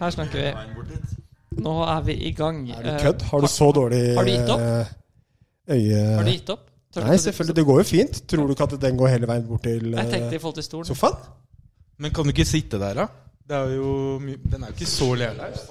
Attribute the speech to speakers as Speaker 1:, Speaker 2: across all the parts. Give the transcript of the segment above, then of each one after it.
Speaker 1: Her snakker vi.
Speaker 2: Veien bort dit.
Speaker 1: Nå er vi i gang.
Speaker 3: Er du
Speaker 1: Eh,
Speaker 3: kødd? Har du så dårlig
Speaker 1: Har du gitt opp?
Speaker 3: eh, øye...
Speaker 1: Har du gitt opp? Tør du
Speaker 3: Nei,
Speaker 1: ikke å
Speaker 3: selvfølgelig. Det går jo fint. Tror du ikke at den går hele veien bort til
Speaker 1: Jeg tenkte
Speaker 3: eh,
Speaker 1: i forhold til stolen.
Speaker 3: sofaen?
Speaker 2: Men kan du ikke sitte der, da? Det er jo my Den er jo ikke så lealaus.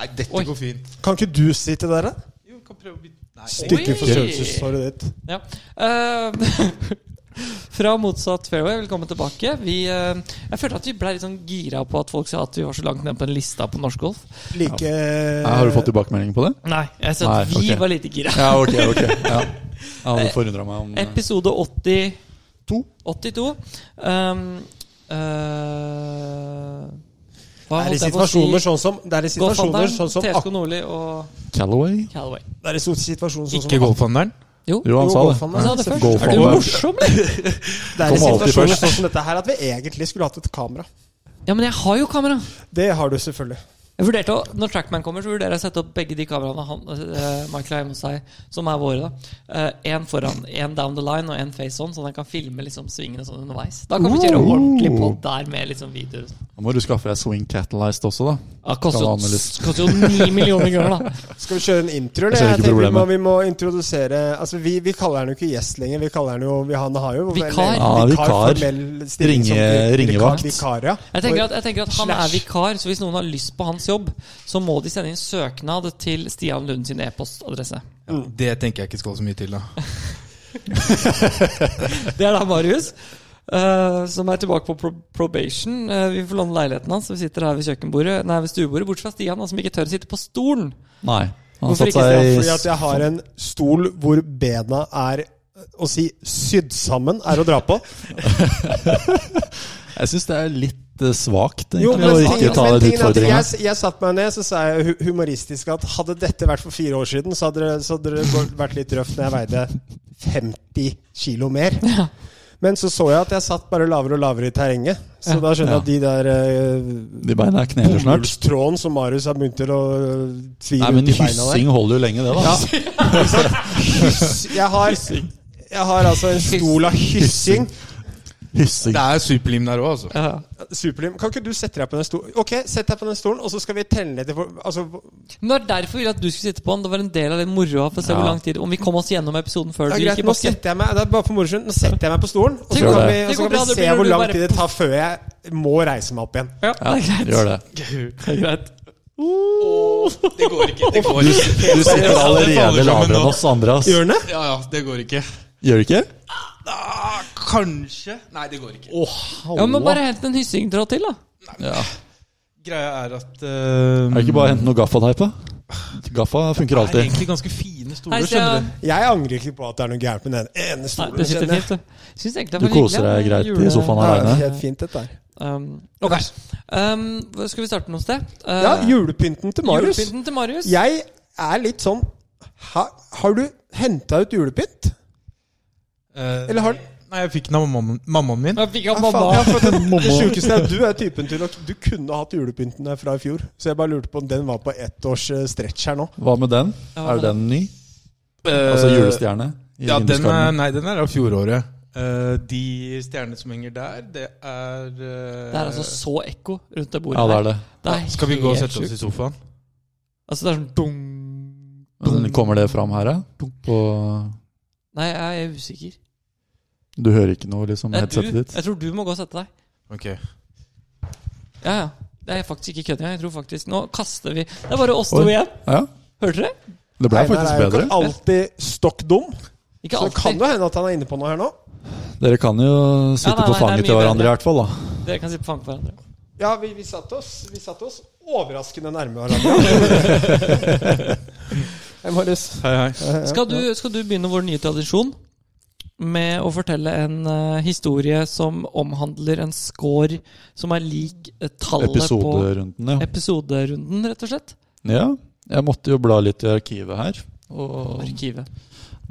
Speaker 2: Nei, dette
Speaker 1: Oi.
Speaker 2: går fint.
Speaker 3: Kan ikke du sitte der, da?
Speaker 2: Jo, vi kan prøve å bytte Nei.
Speaker 3: Stygge
Speaker 1: Oi!
Speaker 3: forstørrelseshåret ditt.
Speaker 1: Ja. Eh, fra motsatt fairway, velkommen tilbake. Vi, eh, jeg følte at vi ble litt sånn gira på at folk sa at vi var så langt nede på en lista på norsk golf.
Speaker 3: Like eh,
Speaker 4: Ja, har du fått tilbakemelding på det?
Speaker 1: Nei, jeg sa at
Speaker 4: Nei,
Speaker 1: vi
Speaker 4: ok.
Speaker 1: var lite gira.
Speaker 4: Ja, ok. ok ja. Jeg hadde forundra meg om eh,
Speaker 1: Episode 80
Speaker 3: To.
Speaker 1: 82. Um, eh, hva
Speaker 3: Det er i
Speaker 1: holdt jeg på å si?
Speaker 3: situasjoner sånn som Det er i situasjoner
Speaker 1: Golfhandleren,
Speaker 3: sånn som ak-
Speaker 1: TSK Nordli og
Speaker 4: Callaway.
Speaker 1: Calaway.
Speaker 3: Det er i situasjoner sånn som
Speaker 2: Ikke golfhandelen?
Speaker 1: Jo,
Speaker 4: Jo,
Speaker 3: Jo,
Speaker 4: han sa det.
Speaker 3: golfhandler.
Speaker 1: han sa det
Speaker 3: Ja,
Speaker 1: først.
Speaker 4: golf-
Speaker 1: Er du
Speaker 4: golf-
Speaker 1: morsom, eller?
Speaker 3: Det er i
Speaker 4: Kommer alltid
Speaker 3: situasjoner
Speaker 4: først.
Speaker 3: sånn som dette her at vi egentlig skulle hatt et kamera.
Speaker 1: Ja, men jeg har jo kamera.
Speaker 3: Det har du selvfølgelig.
Speaker 1: Jeg vurderte å, Når Trackman kommer, så vurderer jeg å sette opp begge de kameraene han, eh, Michael har hjemme hos seg, som er våre. da Én foran, én down the line og én face on, sånn at jeg kan filme liksom svingene sånn underveis. Da kan vi kjøre
Speaker 4: Oh.
Speaker 1: ordentlig på der med liksom videoer. og sånn.
Speaker 4: Da må du skaffe deg Swing Catalyzed også, da.
Speaker 1: Ja, det koster jo-
Speaker 4: Kan han vel-
Speaker 1: det koster jo ni millioner kroner, da.
Speaker 3: Skal vi kjøre en intro,
Speaker 4: Jeg
Speaker 3: eller?
Speaker 4: ser
Speaker 3: Jeg tenker
Speaker 4: ikke
Speaker 3: vi må,
Speaker 4: problemet.
Speaker 3: vi må introdusere Altså, vi, vi kaller han jo ikke gjest lenger. Vi kaller han jo vi, Han har jo
Speaker 1: Vikar.
Speaker 4: Ja, vikar.
Speaker 3: formell stilling som
Speaker 4: Ringe-
Speaker 3: vi-
Speaker 4: ringevakt.
Speaker 3: Vikar, ja.
Speaker 1: Jeg tenker, at, jeg tenker at han er
Speaker 3: Slash.
Speaker 1: vikar, så hvis noen har lyst på hans jobb, så må de sende inn søknad til Stian Lund sin e-postadresse.
Speaker 2: Ja, det tenker jeg ikke skal så mye til, da.
Speaker 1: Det er da Marius, eh, som er tilbake på pro probation. Eh, vi får låne leiligheten hans, så vi sitter her ved kjøkkenbordet Nei, ved stuebordet. Bortsett fra Stian, han som ikke tør å sitte på stolen.
Speaker 4: Nei. Han
Speaker 1: Hvorfor
Speaker 4: satt
Speaker 1: ikke,
Speaker 4: seg
Speaker 3: Ja,
Speaker 4: i
Speaker 3: fordi at jeg har en stol hvor bena er å si sydd sammen er å dra på.
Speaker 4: Jeg syns det er litt eh, svakt,
Speaker 3: Jo,
Speaker 4: egentlig,
Speaker 3: men
Speaker 4: å
Speaker 3: ting-
Speaker 4: ikke ta
Speaker 3: men tingen er
Speaker 4: den
Speaker 3: at
Speaker 4: utfordringa.
Speaker 3: jeg, jeg satte meg ned, så sa jeg hu- humoristisk at hadde dette vært for fire år siden, så hadde det, så hadde det gått- vært litt røft når jeg veide 50 kilo mer. Men så så jeg at jeg satt bare lavere og lavere i terrenget. Så da skjønner jeg at de der eh,
Speaker 4: De beina kneler snart.
Speaker 3: bomullstråden som Marius har begynt til å eh, tvi
Speaker 4: Nei,
Speaker 3: ut
Speaker 4: men
Speaker 3: i beina der.
Speaker 4: hyssing holder jo lenge, det, da.
Speaker 3: Jeg har, jeg har altså en stol av hyssing.
Speaker 4: Hyssing.
Speaker 2: Det er superlim der òg, altså.
Speaker 1: Ja.
Speaker 3: Superlim. Kan ikke du sette deg på den stolen? Ok, sett deg på den stolen, og så skal vi telle ned til hvor altså,
Speaker 1: Men det var derfor vi ville at du skulle sitte på den. Det var en del av den moroa for å se
Speaker 4: Ja.
Speaker 1: hvor lang tid Om vi kom oss gjennom episoden før
Speaker 3: det er
Speaker 1: du gikk
Speaker 3: greit,
Speaker 1: i
Speaker 3: nå
Speaker 1: bakken.
Speaker 3: setter jeg meg Det er bare for moro skyld. Nå setter jeg meg på stolen, og så
Speaker 1: Det går
Speaker 3: kan
Speaker 4: bra.
Speaker 3: vi, og
Speaker 1: Det
Speaker 3: så
Speaker 1: går
Speaker 3: kan
Speaker 1: bra,
Speaker 3: vi
Speaker 1: det
Speaker 3: se
Speaker 1: blir
Speaker 3: hvor
Speaker 1: du
Speaker 3: lang
Speaker 1: bare-
Speaker 3: tid det tar før jeg må reise meg opp igjen.
Speaker 1: Ja, det er greit.
Speaker 4: Gjør det.
Speaker 1: Det er greit.
Speaker 2: Det går ikke. Det går ikke.
Speaker 4: Du sitter allerede
Speaker 2: faller sammen
Speaker 4: lavere
Speaker 2: nå.
Speaker 4: enn oss andre, ass.
Speaker 3: Gjør den det?
Speaker 2: Ja, ja, det går ikke.
Speaker 4: Gjør du ikke?
Speaker 2: Ah, kanskje Nei, det går ikke.
Speaker 1: Ja, men bare hent en hyssingtråd til, da.
Speaker 4: Ja.
Speaker 2: Greia er at eh,
Speaker 4: Er det ikke bare å hente noe gaffateip, da? Gaffa funker
Speaker 2: Det er
Speaker 4: alltid.
Speaker 2: egentlig ganske fine
Speaker 1: Hei,
Speaker 2: stoler, skjønner
Speaker 1: Stian.
Speaker 2: du.
Speaker 3: Jeg angrer ikke på at det er noe gærent med den ene
Speaker 1: Nei,
Speaker 3: stolen.
Speaker 1: det sitter
Speaker 3: kjenner jeg.
Speaker 1: fint, du. Syns egentlig det
Speaker 4: Du
Speaker 1: var
Speaker 4: koser
Speaker 1: hyggelig,
Speaker 4: deg
Speaker 1: ja,
Speaker 4: greit i
Speaker 1: jule-
Speaker 4: sofaen
Speaker 3: Ja, det
Speaker 4: aleine.
Speaker 3: er helt fint, dette her.
Speaker 1: Um, ok. Um, hva- skal vi starte noe sted? Uh,
Speaker 3: Ja, julepynten til Marius.
Speaker 1: Julepynten til Marius.
Speaker 3: Jeg er litt sånn ha, Har du henta ut julepynt?
Speaker 2: Eh,
Speaker 3: Eller har
Speaker 2: Nei, jeg fikk den av mammaen, mammaen min.
Speaker 1: Jeg fikk
Speaker 3: Ja,
Speaker 1: av mamma.
Speaker 3: faen, ja, for det, det
Speaker 4: Mamma.
Speaker 3: sjukeste er at du er typen til å Du kunne hatt julepynten der fra i fjor. Så jeg bare lurte på om den var på ett års eh, stretch her nå.
Speaker 4: Hva med den?
Speaker 1: Ja,
Speaker 4: Er den ny?
Speaker 2: Eh,
Speaker 4: Altså julestjerne? i
Speaker 2: Ja, den er,
Speaker 4: vinduskarmen.
Speaker 2: nei, den er av fjoråret. Eh, de stjernene som henger der, det er eh,
Speaker 1: Det er altså så ekko rundt det bordet.
Speaker 4: Ja, det er det.
Speaker 1: her. Det er
Speaker 2: Skal vi gå og
Speaker 1: helt
Speaker 2: sette oss
Speaker 1: sjukt.
Speaker 2: i sofaen?
Speaker 1: Altså, det er sånn dung, dung.
Speaker 4: Men kommer det fram her, ja? På
Speaker 1: Nei, jeg er usikker.
Speaker 4: Du hører ikke noe, liksom?
Speaker 1: Nei, du,
Speaker 4: Headsetet ditt?
Speaker 1: jeg tror du må gå og sette deg.
Speaker 2: Ok
Speaker 1: Ja, ja. Det er faktisk ikke kødd. Jeg tror faktisk Nå kaster vi Det er bare oss to
Speaker 4: Oi.
Speaker 1: igjen.
Speaker 4: Ja.
Speaker 1: Hørte dere?
Speaker 4: Det ble
Speaker 3: Einar
Speaker 4: faktisk
Speaker 3: er jo
Speaker 4: bedre.
Speaker 3: ikke alltid stokk dum.
Speaker 1: Ikke
Speaker 3: Så det kan
Speaker 1: alltid.
Speaker 3: jo hende at han er inne på noe her nå.
Speaker 4: Dere kan jo sitte
Speaker 1: Ja, nei, nei,
Speaker 4: på
Speaker 1: det er
Speaker 4: fanget til
Speaker 1: mye
Speaker 4: hverandre, i
Speaker 1: bedre.
Speaker 4: hvert fall. da
Speaker 1: Dere kan sitte på fanget på hverandre.
Speaker 3: Ja, vi, vi satte oss Vi satte oss overraskende nærme hverandre. Hei, Marius.
Speaker 2: Hei, hei.
Speaker 1: Skal du, skal du begynne vår nye tradisjon med å fortelle en eh, historie som omhandler en score som er lik eh, tallet
Speaker 4: Episoderunden,
Speaker 1: på
Speaker 4: ja.
Speaker 1: episoderunden, rett og slett?
Speaker 4: ja. Jeg måtte jo bla litt i arkivet her. Og
Speaker 1: Arkivet.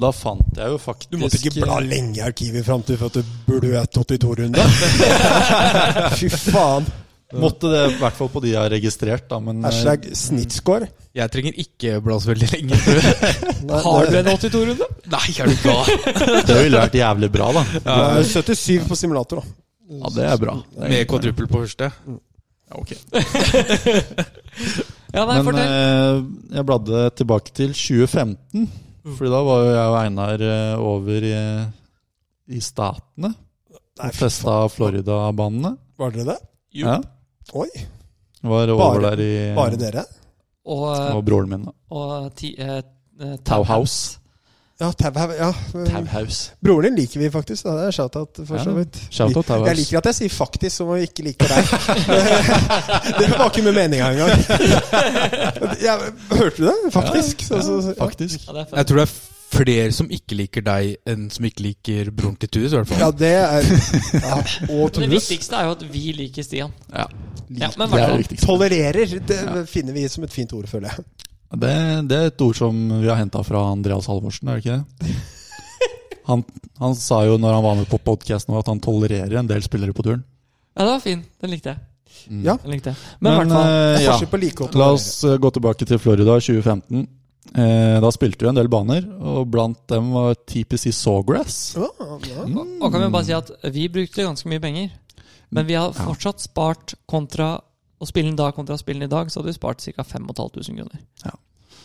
Speaker 4: da fant jeg jo faktisk
Speaker 3: Du måtte ikke bla lenge i arkivet fram til for at du bløt 82-runde. Fy faen.
Speaker 4: Måtte det i hvert fall på de jeg har registrert, da. Men
Speaker 3: Hashtag snittscore.
Speaker 2: Jeg trenger ikke blas veldig lenge.
Speaker 1: Har du en 82-runde?
Speaker 2: Nei, er du gal?
Speaker 4: eh, det har jo lært jævlig bra, da.
Speaker 3: Du er 77 på simulator, da.
Speaker 4: Ja, det er bra. Det er
Speaker 2: Med kvadruppel på første. Ja, ok.
Speaker 1: Ja, nei,
Speaker 4: Men
Speaker 1: fortell.
Speaker 4: eh, jeg bladde tilbake til 2015,
Speaker 1: Mm.
Speaker 4: Fordi da var jo jeg og Einar eh, over i, i Statene.
Speaker 3: Nei,
Speaker 4: og festa Florida-banene.
Speaker 3: Var dere det?
Speaker 1: Jo.
Speaker 4: Ja,
Speaker 3: Oi,
Speaker 4: var over
Speaker 3: Bare-
Speaker 4: der i
Speaker 3: bare dere?
Speaker 1: Og,
Speaker 4: Og broren min, da.
Speaker 1: og ti, eh, eh,
Speaker 4: Tauhaus.
Speaker 3: Ja, Tauhaug ja.
Speaker 4: Tauhaus.
Speaker 3: Broren din liker vi faktisk. Da. Det er shout-out, for
Speaker 4: Ja,
Speaker 3: så vidt.
Speaker 4: shout-out, Tauhaug.
Speaker 3: jeg liker at jeg sier 'faktisk' som om jeg ikke liker deg. det var ikke med meninga engang. Jeg, hørte du det? Faktisk. Så, så, så,
Speaker 4: Faktisk.
Speaker 1: Ja, det er fett.
Speaker 2: Jeg tror det er flere som ikke liker deg, enn som ikke liker broren til Turis. i hvert
Speaker 3: ja,
Speaker 2: fall.
Speaker 3: det er ja, Og
Speaker 1: Det
Speaker 3: Torus
Speaker 1: viktigste er jo at vi liker Stian.
Speaker 4: Ja,
Speaker 1: Ja, men
Speaker 4: det er det
Speaker 1: hvertfall.
Speaker 4: viktigste.
Speaker 3: tolererer. Det finner vi som et fint ord, føler jeg.
Speaker 4: Det, det er et ord som vi har henta fra Andreas Halvorsen, er det ikke det? Han, han sa jo når han var med på podkast nå, at han tolererer en del spillere på turen.
Speaker 1: Ja, det var fin. Den likte jeg.
Speaker 3: Ja.
Speaker 1: Den likte jeg. Men, i hvert fall
Speaker 4: eh, ja.
Speaker 3: Forskjell på like og
Speaker 4: La
Speaker 3: tolerere.
Speaker 4: oss eh, gå tilbake til Florida 2015. Eh, da spilte vi en del baner, og blant dem var TPC Sawgrass.
Speaker 3: Ja, ja.
Speaker 1: Og kan vi bare si at vi brukte ganske mye penger. Men vi har fortsatt spart kontra å spille den da kontra å spille den i dag, så hadde vi spart ca. 5500 kroner.
Speaker 4: Ja.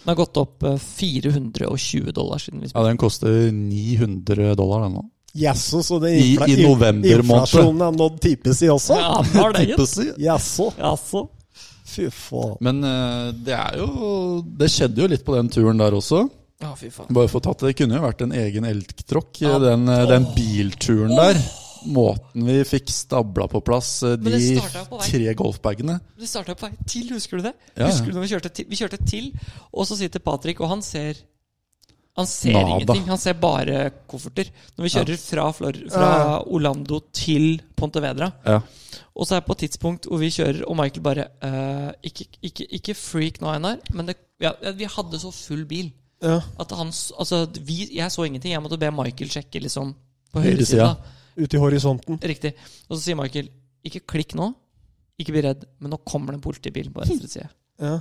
Speaker 1: Den har gått opp eh, 420 dollar siden vi
Speaker 4: Ja,
Speaker 1: spilte.
Speaker 4: den koster 900 dollar, den nå.
Speaker 3: Jaså, så det
Speaker 4: I-
Speaker 3: infla-
Speaker 4: i november måned.
Speaker 3: Inflasjonen har nådd type si også?
Speaker 1: Ja, den var det, gitt.
Speaker 4: TPC.
Speaker 3: Jaså.
Speaker 1: Jaså.
Speaker 3: Fy faen.
Speaker 4: Men eh, det er jo Det skjedde jo litt på den turen der også.
Speaker 1: Å, fy faen.
Speaker 4: Bare for å ta til, Det kunne jo vært en egen elgtråkk,
Speaker 1: Ja.
Speaker 4: den, eh, den bilturen der. Måten vi fikk stabla på plass eh,
Speaker 1: Men det
Speaker 4: de
Speaker 1: startet jo på vei.
Speaker 4: tre golfbagene
Speaker 1: Vi starta på vei til, husker du det?
Speaker 4: Ja, ja.
Speaker 1: Husker du når Vi kjørte til, vi kjørte til og så sitter Patrick, og han ser han ser
Speaker 4: Nada.
Speaker 1: ingenting. Han ser bare kofferter. Når vi kjører fra, Flor fra Orlando til Pontevedra,
Speaker 4: ja.
Speaker 1: Og så er det på et tidspunkt hvor vi kjører, og Michael bare eh, ikke, ikke, ikke freak nå, Einar, men det, ja, vi hadde så full bil
Speaker 3: Ja.
Speaker 1: at han s- Altså, vi, jeg så ingenting. Jeg måtte be Michael sjekke, liksom, på
Speaker 4: Høyre
Speaker 1: høyre side.
Speaker 4: sida.
Speaker 1: da.
Speaker 3: Ute i horisonten.
Speaker 1: Riktig. Og så sier Michael, ikke klikk nå. Ikke bli redd, men nå kommer det en politibil på venstre side.
Speaker 3: Ja.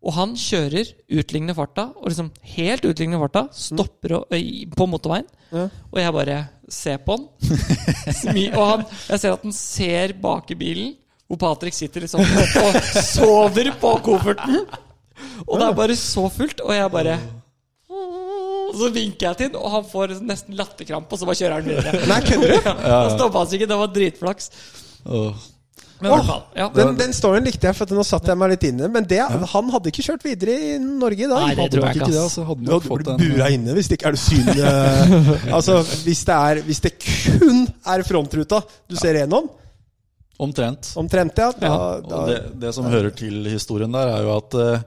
Speaker 1: Og han kjører, utligner farta, og liksom helt utligner farta, stopper og, øy, på motorveien.
Speaker 3: Ja.
Speaker 1: Og jeg bare ser på han. Smi, og han, jeg ser at han ser bak i bilen, hvor Patrick sitter liksom og sover på kofferten. Og det er bare så fullt, og jeg bare og så vinker jeg til han, og han får nesten latterkrampe, og så bare kjører han videre. Nei, kødder du? Da stoppa han seg ikke, det var dritflaks.
Speaker 4: Åh.
Speaker 1: Men i hvert fall, ja.
Speaker 3: Den, den storyen likte jeg, for nå satt jeg meg litt inne. Men det, han hadde ikke kjørt videre i Norge i dag.
Speaker 1: Nei, det
Speaker 4: Hadde
Speaker 1: tror
Speaker 4: nok
Speaker 1: jeg
Speaker 4: ikke
Speaker 1: ikke,
Speaker 4: det,
Speaker 1: ass.
Speaker 4: altså. Hadde
Speaker 3: Ja,
Speaker 4: nok
Speaker 3: du
Speaker 4: fått
Speaker 3: blir
Speaker 4: en
Speaker 3: bura inne hvis det ikke er det synlige Altså, hvis det, er, hvis det kun er frontruta du ser gjennom,
Speaker 4: Omtrent.
Speaker 3: omtrent, ja, da, da
Speaker 4: Og det, det som hører til historien der, er jo at eh,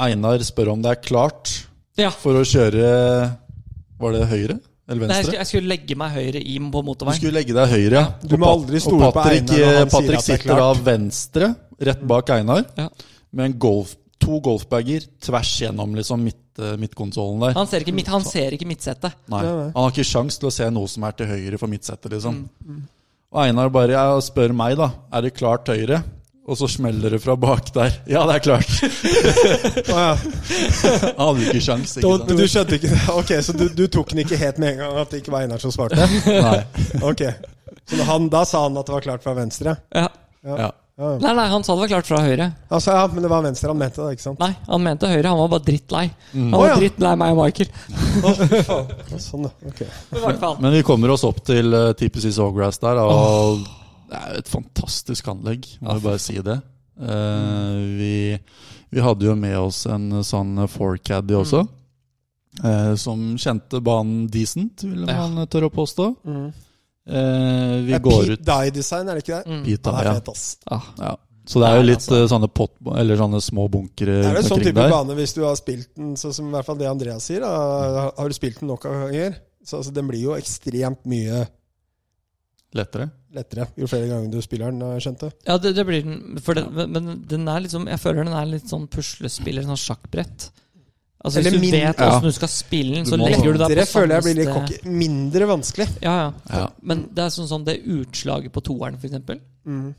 Speaker 4: Einar spør om det er klart
Speaker 1: ja.
Speaker 4: for å kjøre Var det
Speaker 1: Nei,
Speaker 4: høyre? Eller
Speaker 1: jeg,
Speaker 4: venstre?
Speaker 1: skulle, jeg skulle legge meg høyre i på
Speaker 4: Du
Speaker 1: motorveien.
Speaker 4: skulle legge deg høyre, ja.
Speaker 3: Du må
Speaker 4: Og Pat-
Speaker 3: aldri stole
Speaker 4: og
Speaker 3: på
Speaker 4: Patrick,
Speaker 3: Einar når han
Speaker 4: eh,
Speaker 3: sier
Speaker 4: Patrick
Speaker 3: at det er
Speaker 4: sitter da venstre, rett bak Einar,
Speaker 1: Ja.
Speaker 4: med en golf, to golfbager tvers gjennom liksom midt, eh, midtkonsollen der.
Speaker 1: Han ser ikke, mitt, han ser ikke midtsettet.
Speaker 4: Nei,
Speaker 3: Nei, nei.
Speaker 4: Han har ikke sjans til å se noe som er til høyre for midtsettet, liksom.
Speaker 3: Mm,
Speaker 4: Og Einar bare ja, spør meg, da. Er det klart høyre? Og så smeller det fra bak der. Ja, det er klart!
Speaker 3: Å, ja.
Speaker 4: Han hadde ikke sjans, ikke
Speaker 3: Men
Speaker 4: sant?
Speaker 3: du skjønte ikke det? Ok, så du, du tok den ikke helt med en gang at det ikke var Einar som svarte?
Speaker 4: Nei.
Speaker 3: Ok, så han, Da sa han at det var klart fra venstre?
Speaker 1: Ja.
Speaker 4: Ja.
Speaker 1: Nei, nei, han sa det var klart fra høyre.
Speaker 3: Altså, ja, Men det var venstre han mente det, ikke sant?
Speaker 1: Nei, han mente høyre. Han var bare drittlei. Han
Speaker 3: Mm. Å,
Speaker 1: var
Speaker 3: ja.
Speaker 1: drittlei meg og Michael.
Speaker 3: Sånn, da. ok
Speaker 1: I hvert fall.
Speaker 4: Men vi kommer oss opp til uh, TPC Sawgrass der, og det er jo et fantastisk anlegg, må jeg bare si det. Eh, vi, vi hadde jo med oss en sånn 4Caddy også, eh, som kjente banen decent, vil
Speaker 1: Ja.
Speaker 4: man tørre å påstå.
Speaker 3: Mm.
Speaker 4: Eh, vi
Speaker 3: Det er
Speaker 4: går
Speaker 3: Pete
Speaker 4: ut
Speaker 3: Dye-design, er det ikke det?
Speaker 1: Mm.
Speaker 4: Pita,
Speaker 3: Han er
Speaker 4: ja.
Speaker 3: fet, ass.
Speaker 4: ja. Så det er jo
Speaker 1: Nei,
Speaker 4: litt eh, sånne, pot, eller sånne små bunkere
Speaker 3: Det er jo
Speaker 4: rundt
Speaker 3: en sånn
Speaker 4: omkring
Speaker 3: type
Speaker 4: der.
Speaker 3: bane hvis du har spilt den, sånn som i hvert fall det Andreas sier. Da, har du spilt den nok av ganger? Så altså, den blir jo ekstremt mye
Speaker 4: Lettere.
Speaker 3: lettere jo flere ganger du spiller den, har jeg skjønt det.
Speaker 1: Ja, det, det blir den. For den, men- men den er liksom Jeg føler den er litt sånn puslespiller, sånn sjakkbrett. Altså
Speaker 3: Eller
Speaker 1: Hvis du
Speaker 3: min-
Speaker 1: vet
Speaker 4: Ja.
Speaker 1: åssen du skal spille den,
Speaker 4: Du
Speaker 1: så
Speaker 4: må-
Speaker 1: legger du deg
Speaker 3: Mindre
Speaker 1: på
Speaker 3: føler jeg
Speaker 1: samme
Speaker 3: blir litt
Speaker 1: sted.
Speaker 3: cocky. Mindre vanskelig.
Speaker 1: Ja, ja.
Speaker 4: Ja.
Speaker 1: Men det er sånn som det utslaget på toeren, for eksempel.
Speaker 3: Mm.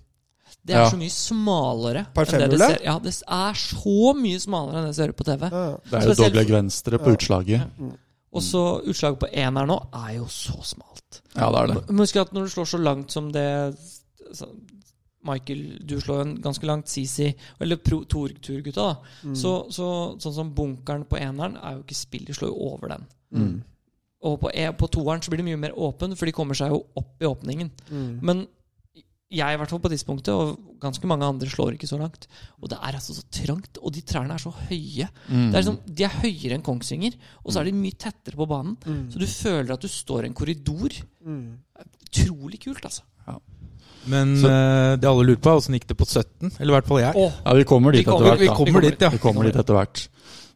Speaker 1: Det er
Speaker 4: Ja.
Speaker 1: så mye smalere.
Speaker 3: Par
Speaker 1: enn det det
Speaker 3: femhjulet?
Speaker 1: ser- Ja, det er så mye smalere enn det ser ut på TV.
Speaker 3: Ja, ja.
Speaker 4: Det er jo
Speaker 1: Spesielt-
Speaker 4: dobbeltlegg venstre på utslaget.
Speaker 1: Og så utslaget på eneren nå er jo så smalt.
Speaker 4: Ja, det er det.
Speaker 1: Men Husk at når du slår så langt som det så- Michael Duslåen ganske langt, Sisi Eller pro- Tor- Tur-gutta, da. Så, så sånn som bunkeren på eneren er jo ikke spill, de slår jo over den.
Speaker 4: Mm.
Speaker 1: Og på, e, på toeren så blir det mye mer åpen, for de kommer seg jo opp i åpningen.
Speaker 3: Mm.
Speaker 1: Men jeg, i hvert fall på tidspunktet, og ganske mange andre, slår ikke så langt. Og det er altså så trangt, og de trærne er så høye.
Speaker 4: Mm.
Speaker 1: Det er liksom, de er høyere enn Kongsvinger, og så er de mye tettere på banen.
Speaker 3: Mm.
Speaker 1: Så du føler at du står i en korridor.
Speaker 3: Mm.
Speaker 1: Utrolig kult, altså.
Speaker 2: Men
Speaker 4: Så-
Speaker 2: eh, det alle lurer på, er åssen gikk det på 17? Eller i hvert fall jeg.
Speaker 1: Åh,
Speaker 4: Ja, vi kommer dit
Speaker 1: Vi
Speaker 4: etter
Speaker 1: kommer-
Speaker 4: hvert.
Speaker 2: vi
Speaker 4: da.
Speaker 2: kommer dit, ja.
Speaker 4: Vi kommer dit etter hvert.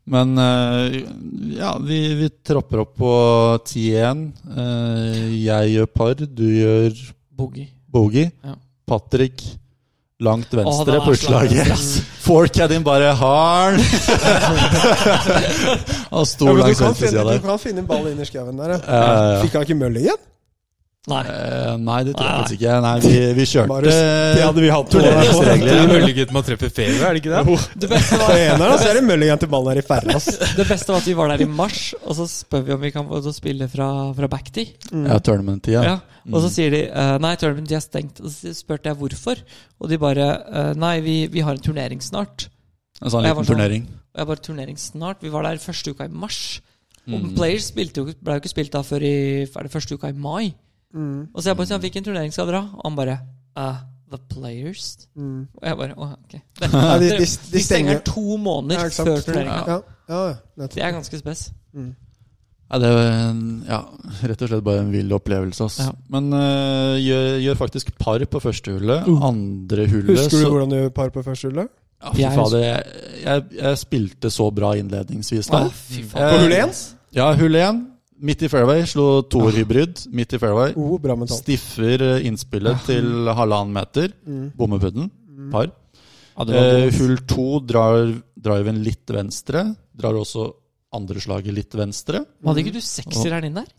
Speaker 4: Men eh, ja, vi, vi tropper opp på 10-1. Eh, jeg gjør par, du gjør
Speaker 1: boogie.
Speaker 4: bogey.
Speaker 1: Ja.
Speaker 4: Patrick langt venstre
Speaker 1: Åh, den er
Speaker 4: på
Speaker 1: så langt
Speaker 4: utslaget.
Speaker 1: venstre, ass.
Speaker 4: Forcaddien bare hard! Han sto
Speaker 3: Ja, men du,
Speaker 4: langs
Speaker 3: kan finne,
Speaker 4: venstresida
Speaker 3: du
Speaker 4: der.
Speaker 3: kan finne en ball inni skauen der. ja.
Speaker 4: Ja, ja, ja.
Speaker 3: Fikk han ikke møll igjen?
Speaker 1: Nei.
Speaker 4: Eh, nei, det tror jeg
Speaker 1: Nei.
Speaker 4: faktisk ikke. Nei, vi, vi kjørte
Speaker 3: Marius, det hadde vi hatt på
Speaker 2: Det
Speaker 4: turneringsregler.
Speaker 2: er møllegutten man treffer fairway, er det ikke det?
Speaker 1: Det beste,
Speaker 3: På
Speaker 1: var,
Speaker 3: eneren så er det møll igjen til ballen er i færre. ass.
Speaker 1: det beste var at vi var der i mars, og så spør vi om vi kan få lov til å spille fra, fra backtid.
Speaker 4: Ja, tournament-tida.
Speaker 1: Ja.
Speaker 3: Mm.
Speaker 1: Og så sier de eh, nei, tournament de er stengt. Og så spurte jeg hvorfor, og de bare eh, nei, vi, vi har en turnering snart.
Speaker 4: En sånn
Speaker 1: Jeg var
Speaker 4: liten
Speaker 1: sånn-
Speaker 4: turnering.
Speaker 1: Og jeg bare turnering snart. Vi var der første uka i mars. Og
Speaker 3: Mm.
Speaker 4: Mm.
Speaker 1: Players spilte jo, ble jo ikke spilt da før i er det første uka i mai.
Speaker 3: Mm,
Speaker 1: Og så jeg bare sa hvilken turnering skal dere ha? Og han bare eh, The Players.
Speaker 3: mm.
Speaker 1: Og jeg bare å, ok. Det,
Speaker 3: Ja, de,
Speaker 1: de,
Speaker 3: de, de stenger
Speaker 1: to
Speaker 3: Ja,
Speaker 1: måneder
Speaker 3: ikke sant?
Speaker 1: før turneringa.
Speaker 3: Ja, ja, ja, nettopp. Mm.
Speaker 1: Det er ganske spes.
Speaker 4: Ja, det var en- ja, rett og slett bare en vill opplevelse. Ass.
Speaker 1: Ja.
Speaker 4: Men eh, gjør, gjør faktisk par på første hullet.
Speaker 1: Uh.
Speaker 4: Andre hullet
Speaker 3: Husker du
Speaker 4: så,
Speaker 3: hvordan du par på første hullet?
Speaker 4: ja, fy
Speaker 1: Jeg
Speaker 4: fader, jeg, jeg, jeg spilte så bra innledningsvis
Speaker 1: Å,
Speaker 4: der.
Speaker 1: fy
Speaker 4: Eh,
Speaker 1: faen.
Speaker 3: På hull én?
Speaker 4: Ja, hull én. Midt i fairway. Slo
Speaker 1: Ah.
Speaker 4: toerhybrid midt i fairway.
Speaker 1: Uh,
Speaker 3: Oh, bra mentalt.
Speaker 4: Stiffer eh, innspillet
Speaker 1: Ah.
Speaker 4: til halvannen meter.
Speaker 3: Mm.
Speaker 4: Bommepudden. Par.
Speaker 1: Ja, det var
Speaker 4: Eh, hull to drar driven litt venstre. Drar også andre slaget litt venstre.
Speaker 1: Hadde ikke du sekser her inne der?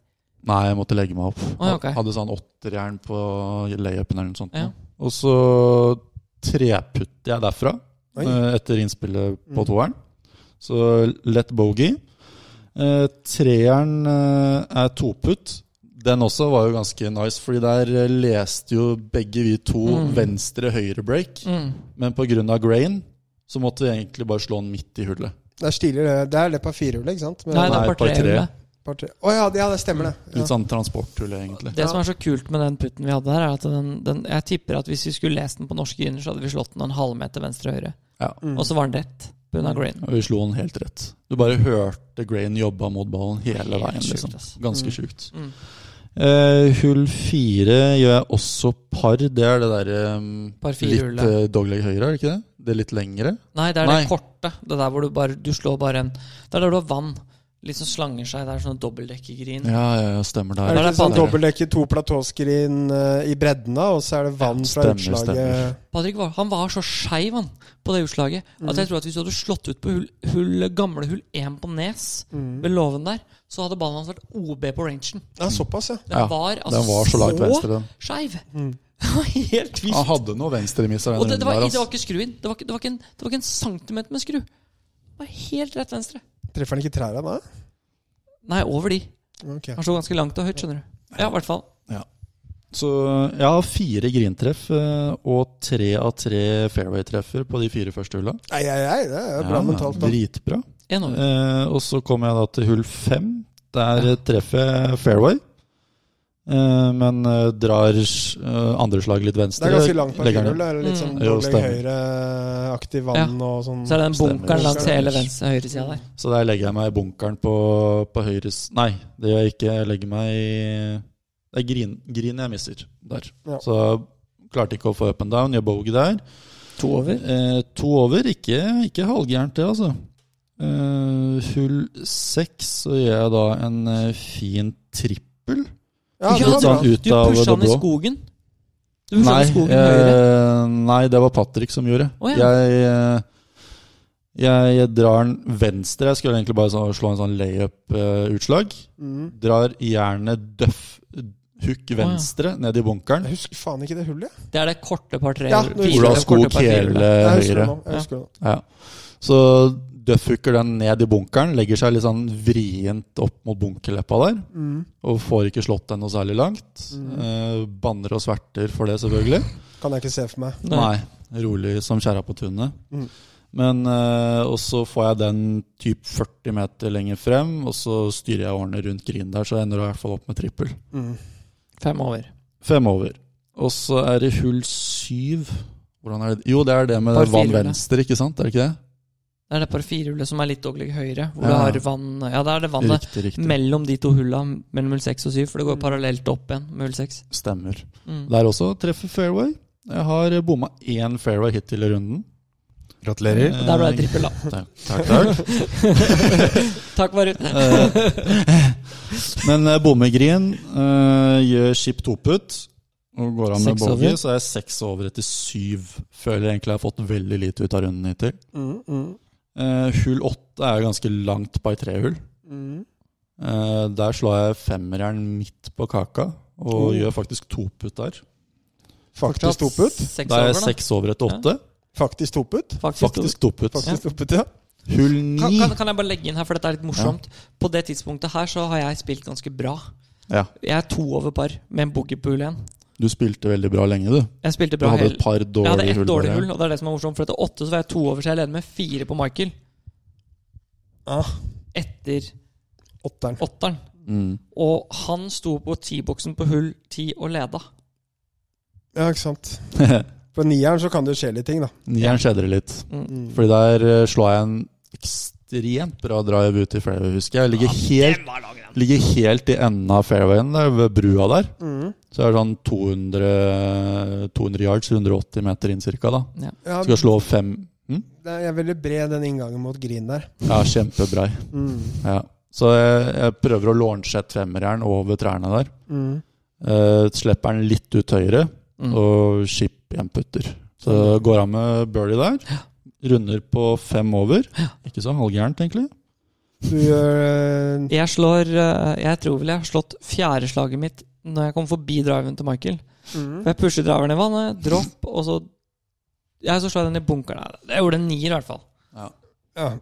Speaker 4: Nei, jeg måtte legge meg opp.
Speaker 1: Å, ja, ok.
Speaker 4: Hadde sånn åtterjern på layupen eller noe sånt.
Speaker 1: Ja.
Speaker 4: Og så treputter jeg derfra
Speaker 3: Oi.
Speaker 4: eh, etter innspillet på
Speaker 3: Mm.
Speaker 4: toeren. Så lett bogey. Eh, treeren eh, er toputt. Den også var jo ganske nice, fordi der eh, leste jo begge vi to
Speaker 1: Mm.
Speaker 4: venstre-høyre break.
Speaker 1: Mm.
Speaker 4: Men pga. grain så måtte vi egentlig bare slå den midt i hullet.
Speaker 3: Det er stilig, det. Det er det par firehullet, ikke sant? Men-
Speaker 1: Nei, det
Speaker 4: Nei,
Speaker 1: er
Speaker 4: par
Speaker 1: par tre.
Speaker 4: tre.
Speaker 1: inne.
Speaker 3: par tre. Å ja, det, ja, det stemmer, det.
Speaker 4: Litt
Speaker 3: Ja.
Speaker 4: sånn transporthull, egentlig.
Speaker 1: Det som er så kult med den putten vi hadde her, er at den, den, jeg tipper at hvis vi skulle lest den på norske grunner, så hadde vi slått den en halvmeter venstre og høyre.
Speaker 4: Ja.
Speaker 3: Mm.
Speaker 1: Og så var den rett pga. green.
Speaker 4: Og vi slo den helt rett. Du bare hørte Grain jobba mot ballen hele
Speaker 1: Helt
Speaker 4: veien.
Speaker 1: sjukt,
Speaker 4: liksom.
Speaker 1: ass.
Speaker 4: Ganske
Speaker 3: Mm.
Speaker 4: sjukt.
Speaker 1: Mm.
Speaker 4: Eh, hull fire gjør jeg også par. Det er det derre um,
Speaker 1: Par fire
Speaker 4: litt
Speaker 1: hullet.
Speaker 4: eh, dogleg høyre, er det ikke det? Det er litt lengre?
Speaker 1: Nei, det er
Speaker 4: Nei.
Speaker 1: det korte. Det der hvor du bare Du slår bare en Det er der du har vann. Litt som slanger seg. Det er sånn dobbeltdekkergrin.
Speaker 4: Ja, ja, ja stemmer
Speaker 3: Er
Speaker 4: der.
Speaker 3: det
Speaker 1: Nei,
Speaker 3: ikke
Speaker 1: det er
Speaker 3: sånn
Speaker 1: fader.
Speaker 3: dobbeltdekke, to platåskrin eh, i bredden av, og så er det vann fra
Speaker 4: Stemmer, stemmer.
Speaker 3: utslaget?
Speaker 1: Patrick var, han var så skeiv, han, på det utslaget,
Speaker 4: Mm.
Speaker 1: at jeg tror at hvis du hadde slått ut på hull, hull, gamle hull 1 på Nes,
Speaker 4: Mm.
Speaker 1: ved låven der, så hadde ballen hans vært OB på rangen.
Speaker 3: Ja, såpass, ja.
Speaker 1: Den
Speaker 4: Ja,
Speaker 1: var altså
Speaker 4: Den var så langt venstre, den.
Speaker 1: skeiv! Det var Helt vilt.
Speaker 4: Han hadde noen venstremisser,
Speaker 1: Og Mm. Ah, det,
Speaker 4: den
Speaker 1: det, var,
Speaker 4: runden
Speaker 1: det
Speaker 4: der.
Speaker 1: var ikke skru inn. Det var ikke, det var ikke, en, det var ikke en centimeter med skru. Det var helt rett venstre.
Speaker 3: Treffer han ikke trærne da?
Speaker 1: Nei, over de.
Speaker 3: Ok.
Speaker 1: Han slo ganske langt og høyt, skjønner du. Ja, i hvert fall.
Speaker 4: ass. Så jeg har fire grintreff eh, og tre av tre fairway-treffer på de fire første hulla.
Speaker 3: Nei, nei, nei, det er bra
Speaker 4: Ja,
Speaker 3: mentalt. da.
Speaker 4: Dritbra.
Speaker 1: En over.
Speaker 4: Eh, og så kom jeg da til hull fem. Der eh, treffer jeg fairway. Eh, men eh, drar eh, andre slag litt
Speaker 3: Det
Speaker 4: venstre.
Speaker 3: er ganske langt på
Speaker 4: legger den
Speaker 3: firehullet. Det er litt sånn
Speaker 1: Mm.
Speaker 4: Jo,
Speaker 3: dobbelt
Speaker 4: stemmer.
Speaker 3: høyreaktig vann og sånn.
Speaker 1: Så er det den
Speaker 4: Stemmer.
Speaker 1: bunkeren langs
Speaker 3: Stemmer.
Speaker 1: hele venstre høyresida der.
Speaker 4: Så der legger jeg meg i bunkeren på, på høyres Nei, det gjør jeg ikke. Jeg legger meg i Det er grin, green jeg misser der.
Speaker 3: Ja.
Speaker 4: Så klarte ikke å få up and down. Gjør bogey der.
Speaker 1: To over.
Speaker 4: Eh, to over. Ikke, ikke halvgærent, det, altså. Eh, hull seks, så gjør jeg da en eh, fin trippel.
Speaker 3: Ja, det
Speaker 1: Ja,
Speaker 3: var bra.
Speaker 4: Litt sånn ut
Speaker 1: Du
Speaker 4: av det
Speaker 1: pusha han i
Speaker 4: blå.
Speaker 1: skogen. Du pusha han i skogen høyre.
Speaker 4: eh, nei, det var Patrick som gjorde.
Speaker 1: Å, ja.
Speaker 4: jeg, eh, jeg, jeg drar den venstre. Jeg skulle egentlig bare sånn, slå en sånn layup-utslag.
Speaker 3: Mm.
Speaker 4: Drar gjerne døff hook
Speaker 1: ja.
Speaker 4: venstre ned i bunkeren.
Speaker 3: Jeg husker faen ikke det hullet. jeg.
Speaker 1: Det er det korte par tre.
Speaker 3: Ja,
Speaker 1: fire-
Speaker 3: nå husker jeg
Speaker 4: Ola
Speaker 1: korte
Speaker 4: Skog
Speaker 1: par fire-
Speaker 4: hele
Speaker 3: Jeg husker det
Speaker 4: høyre.
Speaker 3: nå. Jeg husker det nå.
Speaker 4: Ja. Så Duff hooker den ned i bunkeren, legger seg litt sånn vrient opp mot bunkerleppa der.
Speaker 3: Mm.
Speaker 4: Og får ikke slått den noe særlig langt.
Speaker 1: Mm.
Speaker 4: Eh, banner og sverter for det, selvfølgelig.
Speaker 3: Kan jeg ikke se for meg.
Speaker 1: Nei.
Speaker 4: Nei. Rolig som kjerra på tunet.
Speaker 3: Mm.
Speaker 4: Men eh, Og så får jeg den typ 40 meter lenger frem, og så styrer jeg årene rundt grinen der, så jeg ender i hvert fall opp med trippel.
Speaker 3: Mm.
Speaker 1: Fem over.
Speaker 4: Fem over. Og så er det hull syv. Hvordan er det? Jo, det er det med
Speaker 1: Par
Speaker 4: vann
Speaker 1: firehjulet.
Speaker 4: venstre, ikke sant? Er det ikke det?
Speaker 1: Det er det par firehullet som er litt dårlig høyre. Hvor
Speaker 4: Ja.
Speaker 1: du har vann Ja, det er det vannet
Speaker 4: Riktig, riktig.
Speaker 1: mellom de to hulla, mellom hull 6 og 7, for det går parallelt opp igjen med hull 6.
Speaker 4: Stemmer.
Speaker 1: Mm.
Speaker 4: Der også treffer fairway. Jeg har bomma én fairway hittil i runden.
Speaker 2: Gratulerer.
Speaker 1: Og Der ble det trippel, da.
Speaker 4: Takk, takk. takk.
Speaker 1: Takk, Varut.
Speaker 4: Eh, Men eh, bommegrin eh, gjør skip toputt. Og går av med
Speaker 1: Seks
Speaker 4: bogey,
Speaker 1: over.
Speaker 4: så er jeg seks over etter syv. Føler egentlig jeg har fått veldig lite ut av runden hittil.
Speaker 3: Mm, mm,
Speaker 4: Eh, Hull åtte er ganske langt by tre-hull.
Speaker 3: mm.
Speaker 4: Eh, Der slår jeg femmeren midt på kaka, og
Speaker 3: Oh.
Speaker 4: gjør faktisk toputt der.
Speaker 3: Faktisk toput.
Speaker 1: Seks
Speaker 4: Da er jeg
Speaker 1: over, da.
Speaker 4: seks over etter
Speaker 1: Ja.
Speaker 4: åtte.
Speaker 3: Faktisk toput.
Speaker 1: Faktisk.
Speaker 4: Faktisk toputt.
Speaker 3: Faktisk toput, ja.
Speaker 4: Hull
Speaker 1: Kan,
Speaker 4: ni.
Speaker 1: kan, kan jeg bare legge inn her, for dette er litt morsomt. På det tidspunktet her så har jeg spilt ganske bra.
Speaker 4: Ja,
Speaker 1: Jeg er to over par med en boogie på hull igjen.
Speaker 4: du spilte veldig bra lenge, du.
Speaker 1: Jeg spilte
Speaker 4: Du
Speaker 1: bra
Speaker 4: hadde
Speaker 1: hele
Speaker 4: et par
Speaker 1: Jeg hadde
Speaker 4: dårlige
Speaker 1: ett
Speaker 4: hull.
Speaker 1: dårlig
Speaker 4: bare.
Speaker 1: hull, og det er det som er morsomt. For etter åtte så var jeg to over, så jeg leder med fire på Michael.
Speaker 3: Ah,
Speaker 1: Etter
Speaker 3: Åtteren.
Speaker 1: åtteren.
Speaker 4: Mm.
Speaker 1: Og han sto på T-boksen på hull ti og leda.
Speaker 3: Ja, ikke sant. På nieren så kan det jo skje litt ting, da.
Speaker 4: Nieren skjedde det litt.
Speaker 3: Mm.
Speaker 4: Fordi der eh, slår jeg en ekstremt bra drive ut i fairway, husker jeg. Jeg ligger helt,
Speaker 1: var lang, den!
Speaker 4: ligger helt i enden av fairwayen der, ved brua der.
Speaker 3: Mm.
Speaker 4: Så er det sånn 200, 200 yards, 180 meter inn cirka, da.
Speaker 3: Ja,
Speaker 4: Skal slå fem hm?
Speaker 3: det er veldig bred den inngangen mot green der.
Speaker 4: Ja, kjempebrei.
Speaker 3: Mm.
Speaker 4: Ja. Så jeg, jeg prøver å launche et femmerjern over trærne der.
Speaker 3: Mm.
Speaker 4: Eh, slipper den litt ut høyre, og skip igjen putter. Så går han med birdie der. Runder på fem over. Ikke så halvgærent, egentlig.
Speaker 3: Du gjør eh,
Speaker 1: Jeg slår eh, Jeg tror vel jeg har slått fjerdeslaget mitt når jeg kom forbi driven til Michael.
Speaker 3: mm.
Speaker 1: For jeg pusher driveren i vannet, dropp, og så Ja, så slår jeg den i bunkeren. Nei, Jeg gjorde en nier, i hvert fall.
Speaker 3: ja.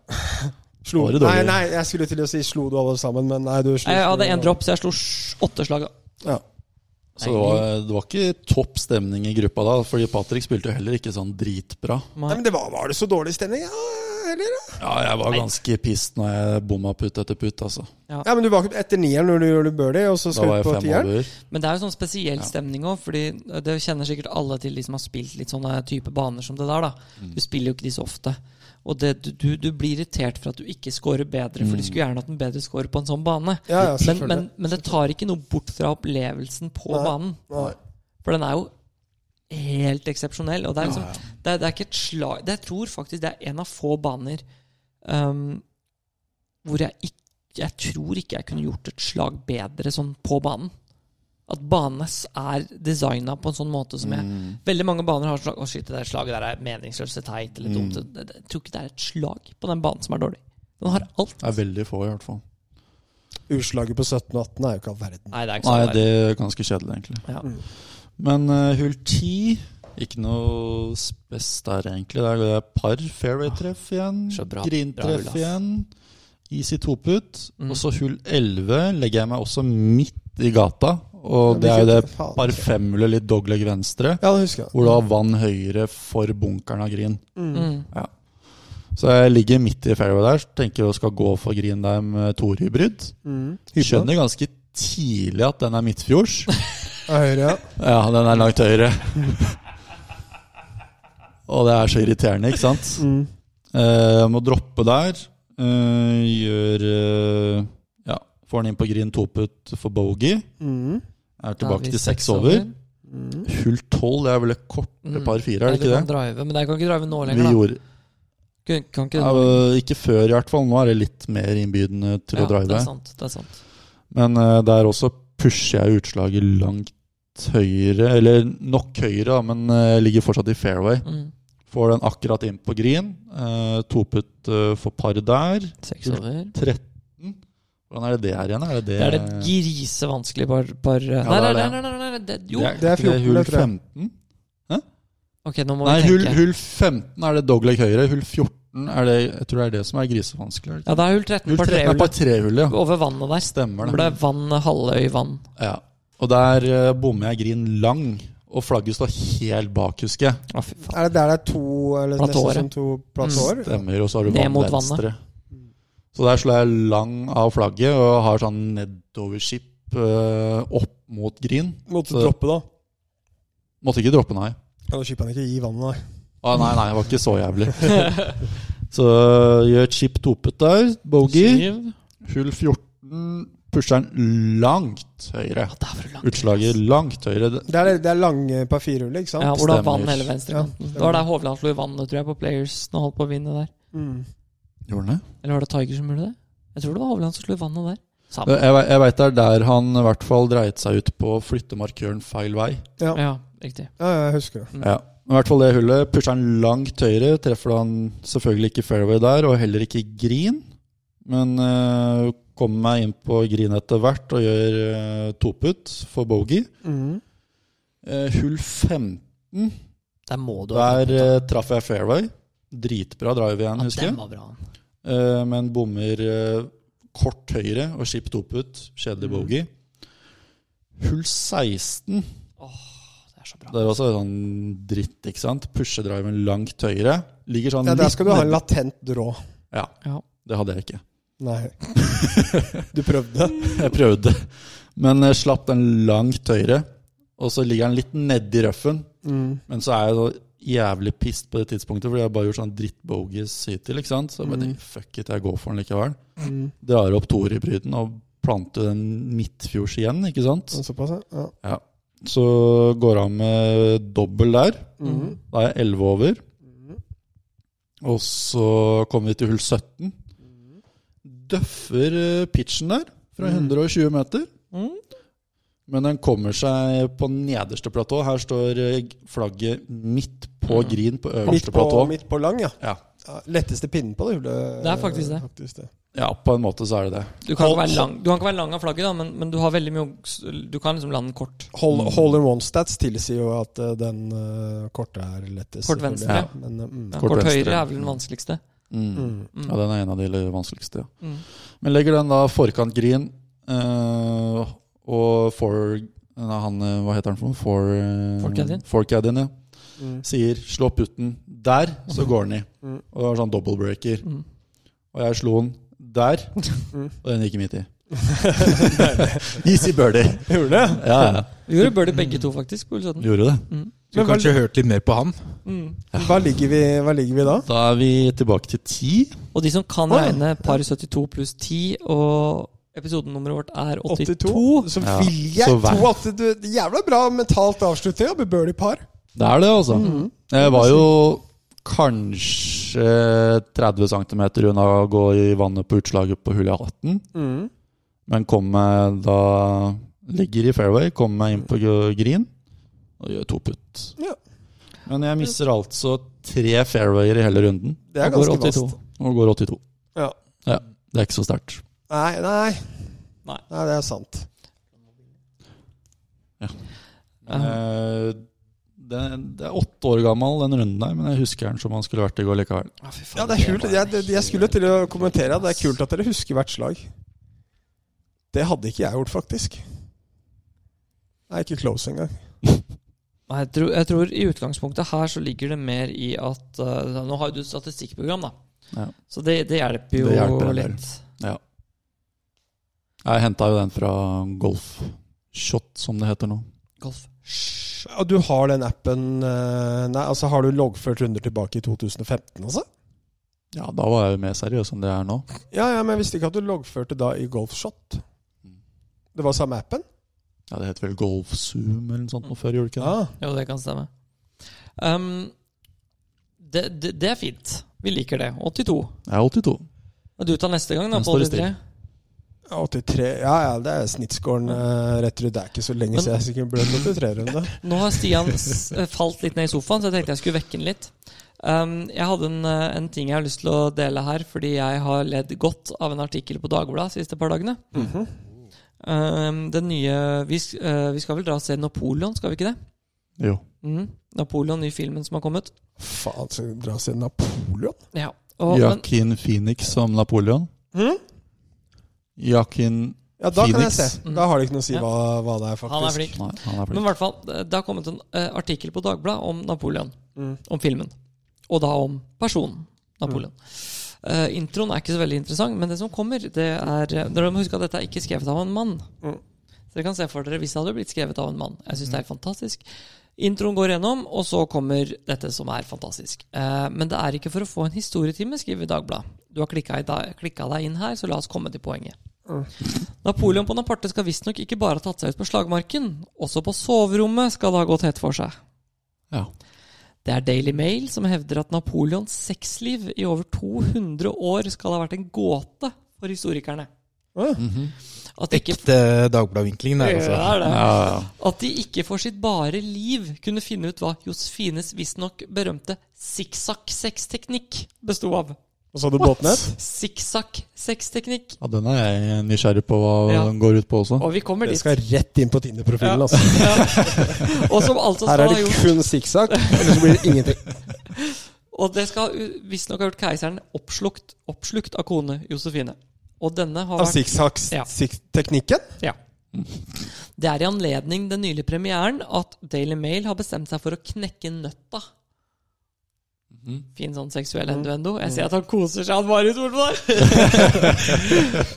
Speaker 3: Slo
Speaker 4: Var det
Speaker 3: Nei,
Speaker 4: dårlig?
Speaker 3: nei, jeg skulle til å si slo du alle sammen, men nei, du slo
Speaker 1: Jeg hadde
Speaker 3: slo-
Speaker 1: én dropp, så jeg slo sj- åtte slag.
Speaker 3: Ja.
Speaker 4: Så det var, det var ikke topp stemning i gruppa da, fordi Patrick spilte jo heller ikke sånn dritbra.
Speaker 3: Nei, men det var, var det så dårlig stemning? Ja, eller? da?
Speaker 4: Ja, jeg var ganske pissed når jeg bomma putt etter putt, altså.
Speaker 3: Ja, men du var etter nieren når du gjorde birdie, og så
Speaker 4: Da
Speaker 3: skal
Speaker 4: var
Speaker 3: du
Speaker 4: jeg
Speaker 3: på
Speaker 4: fem
Speaker 3: tieren?
Speaker 4: over.
Speaker 1: Men det er jo sånn spesiell
Speaker 4: Ja.
Speaker 1: stemning òg, Fordi det kjenner sikkert alle til de som har spilt litt sånne type baner som det der. da
Speaker 3: Mm.
Speaker 1: Du spiller jo ikke de så ofte. Og det, du, du, du blir irritert for at du ikke scorer bedre, for de skulle gjerne hatt en bedre score på en sånn bane.
Speaker 3: Mm. Ja, ja,
Speaker 1: men,
Speaker 3: selvfølgelig.
Speaker 1: men, men det tar ikke noe bort fra opplevelsen på
Speaker 3: Nei.
Speaker 1: banen.
Speaker 3: Nei.
Speaker 1: For den er jo helt eksepsjonell. Og det er liksom det, er, det er ikke et slag det, Jeg tror faktisk det er en av få baner ehm, hvor jeg ikke Jeg tror ikke jeg kunne gjort et slag bedre sånn på banen. At banene s- er designa på en sånn måte som
Speaker 4: Mm.
Speaker 1: jeg Veldig mange baner har slag Å, shit, det der slaget der er meningsløst, det er teit eller dumt.
Speaker 4: Mm.
Speaker 1: Det- det- Jeg tror ikke det er et slag på den banen som er dårlig. Den har alt.
Speaker 4: Det er veldig få, i hvert fall.
Speaker 3: Utslaget på 17 og 18 er jo ikke all verden.
Speaker 1: Nei, det er ikke
Speaker 4: Nei,
Speaker 1: sånn.
Speaker 4: det er ganske kjedelig, egentlig.
Speaker 1: Ja.
Speaker 4: Men eh, hull 10 Ikke noe spes der, egentlig. Der går jeg par fairway-treff igjen.
Speaker 1: Så bra- bra hull,
Speaker 4: Green-treff
Speaker 1: ass.
Speaker 4: igjen. Easy toput.
Speaker 1: Mm.
Speaker 4: Og så hull 11 legger jeg meg også midt i gata. Og det er jo det
Speaker 3: Faen.
Speaker 4: par femhullet litt dogleg venstre,
Speaker 3: Ja, det husker jeg.
Speaker 4: hvor du har vann høyre for bunkeren av green.
Speaker 1: Mm.
Speaker 4: Så jeg ligger midt i fairway der, tenker jeg skal gå for green der med to hybrid.
Speaker 3: Mm. Hyper.
Speaker 4: Skjønner ganske tidlig at den er midtfjords.
Speaker 3: Ja, høyre, ja.
Speaker 4: Ja, den er langt høyere. Og det er så irriterende, ikke sant?
Speaker 3: Mm.
Speaker 4: Eh, jeg må droppe der. Eh, gjør eh, Ja, får den inn på green toputt for bogey.
Speaker 3: Mm.
Speaker 4: Er
Speaker 1: Da er
Speaker 4: tilbake
Speaker 1: vi
Speaker 4: til
Speaker 1: seks
Speaker 4: seks over.
Speaker 3: Mm.
Speaker 4: Hull tolv er vel et korte
Speaker 1: Mm.
Speaker 4: par fire, er det ikke
Speaker 1: Nei, du kan
Speaker 4: det?
Speaker 1: drive, men jeg kan ikke drive nå
Speaker 4: Vi
Speaker 1: lenger, da.
Speaker 4: gjorde
Speaker 1: Kan, kan ikke
Speaker 4: ja, eh, Ikke før, i hvert fall. Nå er det litt mer innbydende til
Speaker 1: Det
Speaker 4: å drive.
Speaker 1: er sant. Det er sant.
Speaker 4: Men eh, der også pusher jeg utslaget langt høyere. Eller nok høyere, da, men eh, jeg ligger fortsatt i fairway.
Speaker 1: Mm.
Speaker 4: Får den akkurat inn på green. Eh, Toputt eh, for par der.
Speaker 1: Seks over.
Speaker 4: 13 Hvordan er det det her igjen? Er det det
Speaker 1: Det er det et grisevanskelig par, par nei, nei,
Speaker 4: det
Speaker 1: nei,
Speaker 4: er
Speaker 1: nei, nei, nei, nei det, Jo,
Speaker 4: Det er,
Speaker 3: Det er
Speaker 4: ikke det
Speaker 3: 14,
Speaker 4: hull
Speaker 3: det tror jeg.
Speaker 4: 15?
Speaker 1: ok, nå må
Speaker 4: Nei,
Speaker 1: vi
Speaker 4: hull,
Speaker 1: tenke.
Speaker 4: hull 15 er det dogleg høyre. Hull 14 er det, jeg tror det er det som er grisevanskelig. er det ikke?
Speaker 1: Ja, det er hull 13 på
Speaker 4: 013 er
Speaker 1: trehullet.
Speaker 4: par trehullet, ja.
Speaker 1: Over vannet der.
Speaker 4: Stemmer
Speaker 1: Hvor det
Speaker 4: det.
Speaker 1: er vann, halvøy, vann.
Speaker 4: Ja. Og der eh, bommer jeg grin lang, og flagget står helt bak, husker jeg.
Speaker 1: Å, fy faen.
Speaker 3: Er det der det er to eller
Speaker 1: Platåer,
Speaker 3: nesten som to platåer?
Speaker 4: Stemmer, og så har du
Speaker 1: Ned
Speaker 4: vann
Speaker 1: mot
Speaker 4: venstre. Så der slår jeg lang av flagget og har sånn nedoverskip eh, opp mot grin.
Speaker 3: Måtte droppe, da.
Speaker 4: Måtte ikke droppe, nei.
Speaker 3: Ja, Da skipper han ikke i vannet, nei.
Speaker 4: Ah, nei, nei, det var ikke så jævlig. så eh, gjør et chip topet der. Bogey.
Speaker 1: Syv.
Speaker 4: Hull 14. Pusher den langt høyre.
Speaker 1: Ja, det er for langt.
Speaker 4: Utslaget langt høyre. Det-
Speaker 3: Det er, det er lange par firehullet, ikke sant?
Speaker 1: Ja, hvor det er
Speaker 4: Stemmer.
Speaker 1: vann hele venstrekanten. det var der Hovland slo i vannet, tror jeg, på Players når han holdt på å vinne der.
Speaker 3: Mm.
Speaker 4: Gjorde den det?
Speaker 1: Eller var det Tiger som gjorde det? Jeg tror det var Hovland som slo i vannet der. Samme.
Speaker 4: Jeg, ve- jeg veit det er der han i hvert fall dreit seg ut på å flytte markøren feil vei.
Speaker 3: Ja.
Speaker 1: Ja, riktig.
Speaker 3: ja, jeg husker det.
Speaker 4: Ja. I hvert fall det hullet. Pusher han langt høyre, treffer han selvfølgelig ikke fairway der, og heller ikke green. Men eh, kommer meg inn på green etter hvert og gjør eh, toput for bogey.
Speaker 3: Mm.
Speaker 4: Eh, hull 15,
Speaker 1: Der må du ha
Speaker 4: der eh, traff jeg fairway. Dritbra drive igjen, husker jeg.
Speaker 1: Den var bra.
Speaker 4: Eh, men bommer eh, kort høyre og skip toput.
Speaker 1: Mm.
Speaker 4: Kjedelig bogey. Hull 16
Speaker 1: Det er så bra.
Speaker 4: Det er også sånn dritt, ikke sant? Pushe-driven langt høyere. Ligger sånn
Speaker 3: Ja, der skal du ha en
Speaker 4: ned-
Speaker 3: latent drå.
Speaker 4: Ja,
Speaker 1: Ja.
Speaker 4: det hadde jeg ikke.
Speaker 3: Nei. Du prøvde?
Speaker 4: Jeg prøvde, men jeg slapp den langt høyre. Og så ligger den litt nedi røffen,
Speaker 3: Mm.
Speaker 4: men så er jeg så jævlig pissed på det tidspunktet, fordi jeg har bare gjort sånn drittbogies hittil, ikke sant? Så jeg bare
Speaker 3: Mm.
Speaker 4: tenkte, fuck it, jeg går for den likevel.
Speaker 3: Mm.
Speaker 4: Drar opp toer i bryten og planter den midtfjords igjen, ikke sant?
Speaker 3: Såpass, ja.
Speaker 4: Ja. Så går han med dobbel der.
Speaker 3: Mm.
Speaker 4: Da er jeg 11 over.
Speaker 1: Mm.
Speaker 4: Og så kommer vi til hull 17. Døffer eh, pitchen der fra 120 meter.
Speaker 1: Mm.
Speaker 4: Men den kommer seg på nederste platå. Her står eh, flagget midt på green på
Speaker 3: Mm. Midt,
Speaker 4: øverste
Speaker 3: på,
Speaker 4: platå.
Speaker 3: midt på lang, ja.
Speaker 4: Ja.
Speaker 3: ja. Letteste pinnen på det hullet.
Speaker 1: Det er faktisk det.
Speaker 3: Faktisk det.
Speaker 4: ja, på en måte så er det det.
Speaker 1: Du kan, ikke være lang, du kan ikke være lang av flagget, da, men, men du har veldig mye Du kan liksom lande den kort.
Speaker 3: Hole, hole in one-stats tilsier jo at eh, den eh, korte er lettest.
Speaker 1: Kort
Speaker 3: selvfølgelig.
Speaker 1: venstre,
Speaker 4: ja.
Speaker 3: Men, eh, mm.
Speaker 1: Ja,
Speaker 4: Kort
Speaker 1: kort
Speaker 4: venstre.
Speaker 1: høyre er vel den vanskeligste.
Speaker 4: Mm.
Speaker 3: Mm.
Speaker 1: Mm.
Speaker 4: Ja, den er en av de litt vanskeligste. Ja.
Speaker 1: Mm.
Speaker 4: Men legger den da forkant green eh, og for nei, han, eh, Hva heter han for noe? For, eh,
Speaker 1: Forkadden?
Speaker 4: Forkadden, ja.
Speaker 3: Mm.
Speaker 4: sier 'slå putten der', så går den i.
Speaker 3: Mm.
Speaker 4: Og det var sånn double breaker.
Speaker 1: Mm.
Speaker 4: Og jeg slo den der,
Speaker 3: Mm.
Speaker 4: og den gikk midt i. Easy birdie.
Speaker 3: Gjorde det?
Speaker 4: Ja, ja.
Speaker 1: Vi gjorde birdie begge to, faktisk. på hull 17.
Speaker 4: Gjorde det.
Speaker 2: Skulle
Speaker 3: Men hva-
Speaker 2: kanskje hørt litt mer på han.
Speaker 1: Mm.
Speaker 3: Hva ligger vi, hva ligger vi da?
Speaker 4: Da er vi tilbake til ti.
Speaker 1: Og de som kan
Speaker 3: Å, ja.
Speaker 1: regne par 72 pluss 10, og episodenummeret vårt er 82,
Speaker 3: 82? Så
Speaker 4: Ja,
Speaker 3: vil jeg
Speaker 4: så
Speaker 3: tro
Speaker 4: vær-
Speaker 3: at du det er Jævla bra mentalt avslutning av Birdie Par.
Speaker 4: Det er det, altså.
Speaker 3: Mm.
Speaker 4: Jeg var jo kanskje 30 cm unna å gå i vannet på utslaget på hull 18, men kom meg da Ligger i fairway, kommer meg inn på green og gjør to putt.
Speaker 3: Ja.
Speaker 4: Men jeg misser altså tre fairwayer i hele runden.
Speaker 3: Det er
Speaker 1: og går
Speaker 3: ganske
Speaker 1: 82.
Speaker 3: vast.
Speaker 4: Og går 82.
Speaker 3: Ja.
Speaker 4: Det er ikke så sterkt.
Speaker 3: Nei, nei.
Speaker 1: Nei.
Speaker 3: Nei, det er sant.
Speaker 4: Eh, Det, det er åtte år gammel, den runden der, men jeg husker den som han skulle vært i går likevel.
Speaker 1: Ja, Ah, fy faen,
Speaker 3: Ja, det er kult.
Speaker 1: var
Speaker 3: Jeg,
Speaker 1: en
Speaker 3: jeg skulle til å kommentere at det er
Speaker 1: ass.
Speaker 3: kult at dere husker hvert slag. Det hadde ikke jeg gjort, faktisk. Nei, ikke close engang.
Speaker 1: Nei, jeg tror, jeg tror i utgangspunktet her så ligger det mer i at eh, Nå har jo du et statistikkprogram, da.
Speaker 4: Ja.
Speaker 1: Så det, det hjelper jo
Speaker 4: Det hjelper en del.
Speaker 1: litt.
Speaker 4: Jeg henta jo den fra Golf Shot, som det heter nå.
Speaker 1: Golf.
Speaker 3: Og du har den appen eh, Nei, altså har du loggført runder tilbake i 2015, altså?
Speaker 4: Ja, da var jeg jo mer seriøs enn det jeg er nå.
Speaker 3: Ja, ja, men jeg visste ikke at du loggførte da i Golfshot. Det var samme appen?
Speaker 4: Ja, Det het vel Golf Zoom eller noe sånt nå før, gjorde det ikke det?
Speaker 3: Ja.
Speaker 1: Jo, det kan stemme. Um, det, det, det er fint. Vi liker det. 82.
Speaker 4: Jeg er 82.
Speaker 1: Og du tar neste gang, da,
Speaker 4: Den
Speaker 1: på
Speaker 4: står i
Speaker 1: 83.
Speaker 4: stil.
Speaker 3: 83 Ja, ja, det er snittskåren eh, rett rundt. Det er ikke så lenge
Speaker 1: Men-
Speaker 3: siden jeg sikkert ble 83-runde.
Speaker 1: Nå har Stian s- eh, falt litt ned i sofaen, så jeg tenkte jeg skulle vekke han litt. Um, jeg hadde en, eh, en ting jeg har lyst til å dele her, fordi jeg har ledd godt av en artikkel på Dagbladet de siste par dagene. um, den nye vi, s- eh, vi skal vel dra og se Napoleon, skal vi ikke det?
Speaker 4: Jo.
Speaker 1: Mhm. Napoleon, ny filmen som har kommet.
Speaker 3: Faen, skal vi dra oss til Napoleon?
Speaker 1: Ja, Og, men, Hm?
Speaker 4: Joaquin Phoenix som Napoleon.
Speaker 3: Mhm.
Speaker 4: Joaquin
Speaker 3: Ja, da kan jeg
Speaker 4: Phoenix.
Speaker 3: se. Da har det ikke noe å si
Speaker 1: Mm. Ja.
Speaker 3: hva, hva det er, faktisk.
Speaker 1: han er flink.
Speaker 4: Nei, han er
Speaker 1: Men i
Speaker 4: flink.
Speaker 1: hvert fall, det har kommet en eh, artikkel på Dagbladet om Napoleon.
Speaker 3: Mm.
Speaker 1: Om filmen. Og da om personen Napoleon.
Speaker 3: Mm.
Speaker 1: Eh, introen er ikke så veldig interessant, men det som kommer, det er eh, Dere må huske at dette er ikke skrevet av en mann.
Speaker 3: Mm.
Speaker 1: Så dere kan se for dere hvis det hadde blitt skrevet av en mann. Jeg syns det er helt fantastisk. Introen går gjennom, og så kommer dette som er fantastisk. Eh, men det er ikke for å få en historietime, skriver Dagbladet. Du har klikka i da- klikka deg inn her, så la oss komme til poenget. Napoleon Bonaparte skal visstnok ikke bare ha tatt seg ut på slagmarken. Også på soverommet skal det ha gått hett for seg.
Speaker 4: Ja.
Speaker 1: Det er Daily Mail som hevder at Napoleons sexliv i over 200 år skal ha vært en gåte for historikerne.
Speaker 3: Åh.
Speaker 1: At de ikke,
Speaker 2: Ekte Dagbladet-vinkling der,
Speaker 1: Det
Speaker 2: altså.
Speaker 1: er det.
Speaker 4: Ja, ja.
Speaker 1: At de ikke for sitt bare liv kunne finne ut hva Josefines visstnok berømte sikksakk-sexteknikk besto av.
Speaker 3: Og så hadde du båtnett?
Speaker 1: Sikksakk-sexteknikk.
Speaker 4: ja, den er jeg nysgjerrig på hva
Speaker 1: Ja.
Speaker 4: den går ut på også.
Speaker 1: Og vi kommer
Speaker 3: Det
Speaker 1: dit.
Speaker 3: skal rett inn på Tinder-profilen.
Speaker 1: Ja.
Speaker 3: Altså.
Speaker 1: Og som altså
Speaker 3: Her
Speaker 1: skal
Speaker 3: er
Speaker 1: ha
Speaker 3: det
Speaker 1: gjort
Speaker 3: kun sikksakk, ellers blir det ingenting.
Speaker 1: Og det skal u- visstnok ha gjort keiseren oppslukt, oppslukt av kone Josefine. Og denne har
Speaker 3: Av
Speaker 1: vært Ja.
Speaker 3: sikksakk-teknikken?
Speaker 1: ja. Det er i anledning den nylige premieren at Daily Mail har bestemt seg for å knekke nøtta. Fin sånn seksuell enduendo. Jeg ser at han koser seg, han Marit Olvar!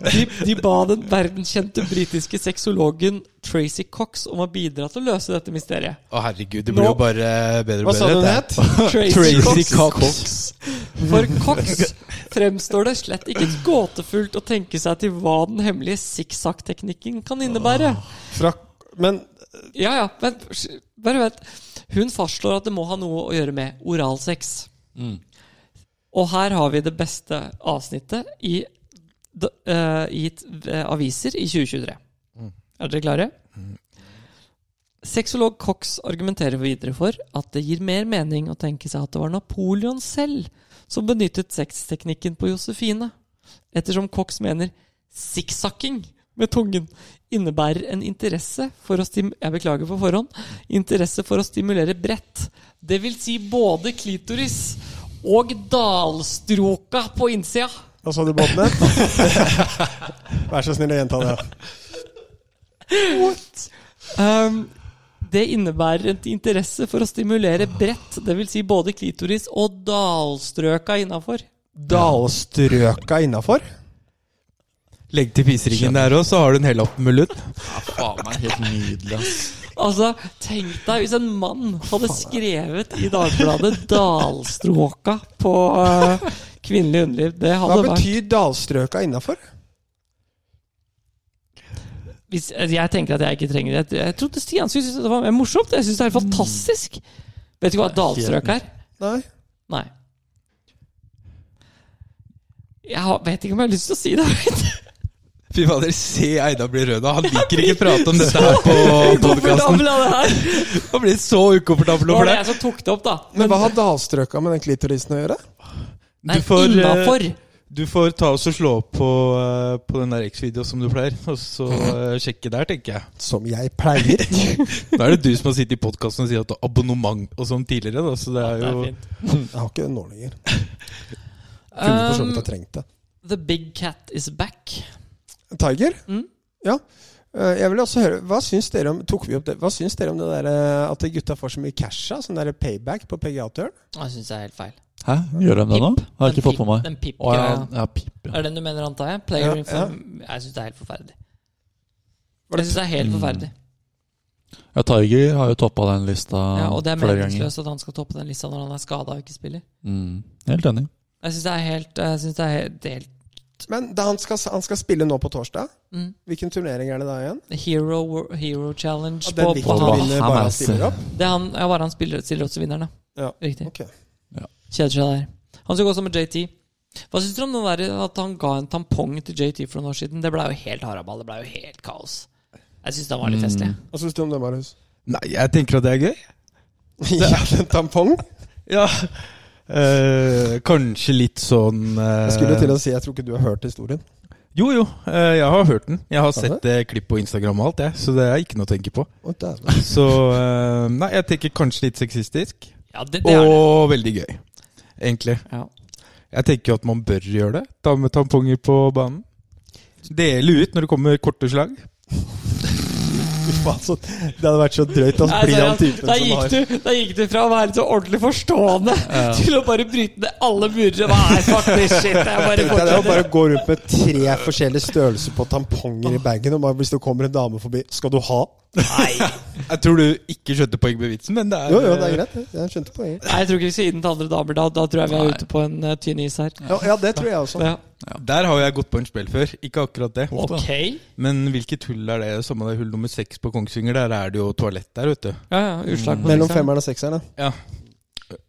Speaker 1: de, de ba den verdenskjente britiske sexologen Tracy Cox om å bidra til å løse dette mysteriet.
Speaker 2: Å, herregud, det blir jo
Speaker 1: Nå-
Speaker 2: bare bedre og
Speaker 3: Hva sa
Speaker 2: bedre.
Speaker 3: du den
Speaker 2: Det er-
Speaker 3: het?
Speaker 1: Tracy
Speaker 2: Tracy
Speaker 1: Cox.
Speaker 2: Cox.
Speaker 1: For Cox fremstår det slett ikke gåtefullt å tenke seg til hva den hemmelige sikksakk-teknikken kan innebære.
Speaker 3: Fra, men
Speaker 1: Ja, ja, men sh- bare vent. Hun fastslår at det må ha noe å gjøre med oralsex. Og her har vi det beste avsnittet i, d- eh, i t- eh, aviser i 2023. Er dere klare? Sexolog Cox argumenterer videre for at det gir mer mening å tenke seg at det var Napoleon selv som benyttet sexteknikken på Josefine, ettersom Cox mener sikksakking med tungen innebærer en interesse for å stim jeg beklager på forhånd, interesse for å stimulere bredt, det vil si både klitoris og dalstroka på innsida.
Speaker 3: Hva sa du, båtnett? Vær så snill å gjenta det.
Speaker 1: Ehm, det innebærer en interesse for å stimulere bredt, det vil si både klitoris og dalstrøka innafor.
Speaker 3: Dalstrøka innafor?
Speaker 2: Legg til fiseringen der òg, så har du en hel opp med lund.
Speaker 4: Faen, det er helt nydelig, ass.
Speaker 1: Altså, tenk deg hvis en mann hadde skrevet i Dagbladet 'dalstråka' på eh, kvinnelig underliv. Det
Speaker 3: Hva
Speaker 1: hadde vært
Speaker 3: betyr dalstrøka innafor?
Speaker 1: hvis, Jeg tenker at jeg ikke trenger det. Jeg trodde Stian skulle synes det var mer morsomt. Jeg syns det er helt fantastisk. Vet du hva dalstrøk er?
Speaker 3: Nei.
Speaker 1: Nei. Jeg har, vet ikke om jeg har lyst til å si det.
Speaker 2: Fy fader, se Eidar bli rød nå. Han liker ikke å prate om dette her på podkasten.
Speaker 1: Komfortabel av det her.
Speaker 2: Han blir så ukomfortabel
Speaker 1: Nå var
Speaker 2: over
Speaker 1: det
Speaker 2: det.
Speaker 1: jeg som tok det opp, da.
Speaker 3: Men hva har dalstrøka med den klitorisen å gjøre?
Speaker 1: Nei,
Speaker 2: Du får, eh,
Speaker 1: innafor.
Speaker 2: Du får ta oss og slå opp på, eh, på den der X-video som du pleier, og så eh, sjekke der, tenker jeg.
Speaker 3: Som jeg pleier.
Speaker 2: Da er det du som har sittet i podkasten og sier at du har abonnement og sånn tidligere, da, så det er
Speaker 1: Det er
Speaker 2: jo
Speaker 1: fint.
Speaker 3: Jeg har ikke den nå lenger. Kunne for så vidt ha trengt det.
Speaker 1: Um, the big cat is back.
Speaker 3: Tiger?
Speaker 1: Mm.
Speaker 3: Ja. Eh, Jeg vil også høre, Hva syns dere om tok vi opp det, Hva syns dere om det der, eh, at de gutta får så mye cash? da? Sånn der payback på PGA-turn?
Speaker 1: Jeg syns det er helt feil.
Speaker 4: Hæ, gjør de det nå? Har jeg ikke fått på meg.
Speaker 1: Den
Speaker 4: Å, ja,
Speaker 1: pip-greia.
Speaker 4: ja, pip, ja.
Speaker 1: Er det den du mener, antar jeg?
Speaker 3: Ja,
Speaker 1: Player info-
Speaker 3: ja.
Speaker 1: Jeg syns det er helt forferdelig.
Speaker 3: Var
Speaker 1: Jeg
Speaker 3: det-
Speaker 1: synes det er helt
Speaker 4: Mm.
Speaker 1: forferdelig.
Speaker 4: ja, Tiger har jo toppa den lista
Speaker 1: Ja, og det er
Speaker 4: flere ganger.
Speaker 1: meningsløst at han skal toppe den lista når han er skada og ikke spiller.
Speaker 4: Mm. Helt enig.
Speaker 1: Jeg syns det er helt, jeg synes det er helt, det er helt
Speaker 3: Men da han, skal, han skal spille nå på torsdag.
Speaker 1: mm.
Speaker 3: Hvilken turnering er det da igjen?
Speaker 1: Hero, wor- hero challenge
Speaker 3: Ja,
Speaker 1: på,
Speaker 3: den vil
Speaker 1: på
Speaker 4: han-
Speaker 3: han
Speaker 1: han.
Speaker 3: vinne
Speaker 4: han
Speaker 3: bare
Speaker 4: er
Speaker 3: han stiller opp.
Speaker 1: Det er han, ja, bare han spiller, stiller opp som vinneren, da.
Speaker 3: Ja.
Speaker 1: Riktig.
Speaker 3: Ok.
Speaker 1: Kjeder seg der. Han skal gå som med JT. Hva syns dere om den der, at han ga en tampong til JT for noen år siden? Det blei jo helt haraball. Det blei jo helt kaos. Jeg syns den var litt
Speaker 4: Mm.
Speaker 1: festlig.
Speaker 3: Hva syns du om det, Marius?
Speaker 2: Nei, jeg tenker at det er gøy.
Speaker 3: Ja, en tampong?
Speaker 2: Ja. Eh, kanskje litt sånn eh,
Speaker 3: Jeg skulle til å si jeg tror ikke du har hørt historien.
Speaker 2: Jo, jo. eh, jeg har hørt den. Jeg har
Speaker 3: du?
Speaker 2: sett eh, klipp på Instagram og alt, jeg, så det er ikke noe å tenke på.
Speaker 3: Å, dæven.
Speaker 2: Så eh, nei, jeg tenker kanskje litt sexistisk.
Speaker 1: Ja, det, det er det.
Speaker 2: og veldig gøy, egentlig.
Speaker 1: Ja.
Speaker 2: Jeg tenker jo at man bør gjøre det. Ta med tamponger på banen. Dele ut når det kommer korte slag.
Speaker 3: Fy faen, så- Det hadde vært så drøyt. Altså,
Speaker 1: Nei,
Speaker 3: blir han
Speaker 1: seriøst,
Speaker 3: typen
Speaker 1: der,
Speaker 3: som
Speaker 1: gikk
Speaker 3: har
Speaker 1: du, der gikk du fra å være så ordentlig forstående til å bare bryte ned alle murer. Hva er faktisk shit? Jeg bare
Speaker 3: Tenkte jeg det å
Speaker 1: fortsetter.
Speaker 3: bare gå rundt med tre forskjellige størrelser på tamponger i bagen. Og bare hvis det kommer en dame forbi Skal du ha?
Speaker 2: Jeg tror du ikke skjønte poenget med vitsen, men det er
Speaker 3: Jo, jo, det er greit. det. Jeg skjønte poenget.
Speaker 1: Nei, jeg tror ikke vi skal gi den til andre damer. Da, da tror jeg vi er ute på en eh, tynn is her.
Speaker 3: Ja, ja, det tror jeg også.
Speaker 1: Ja.
Speaker 2: eh, Der har jeg gått på en smell før. Ikke akkurat det.
Speaker 1: Ok.
Speaker 3: Mm.
Speaker 2: Men hvilket hull er det? Samme det er hull nummer seks på Kongsvinger. Der er det jo toalett der, vet du.
Speaker 1: Ja, ja, utslag på
Speaker 3: Mellom
Speaker 1: liksom.
Speaker 3: femmeren og sekseren, ja.
Speaker 2: Ja.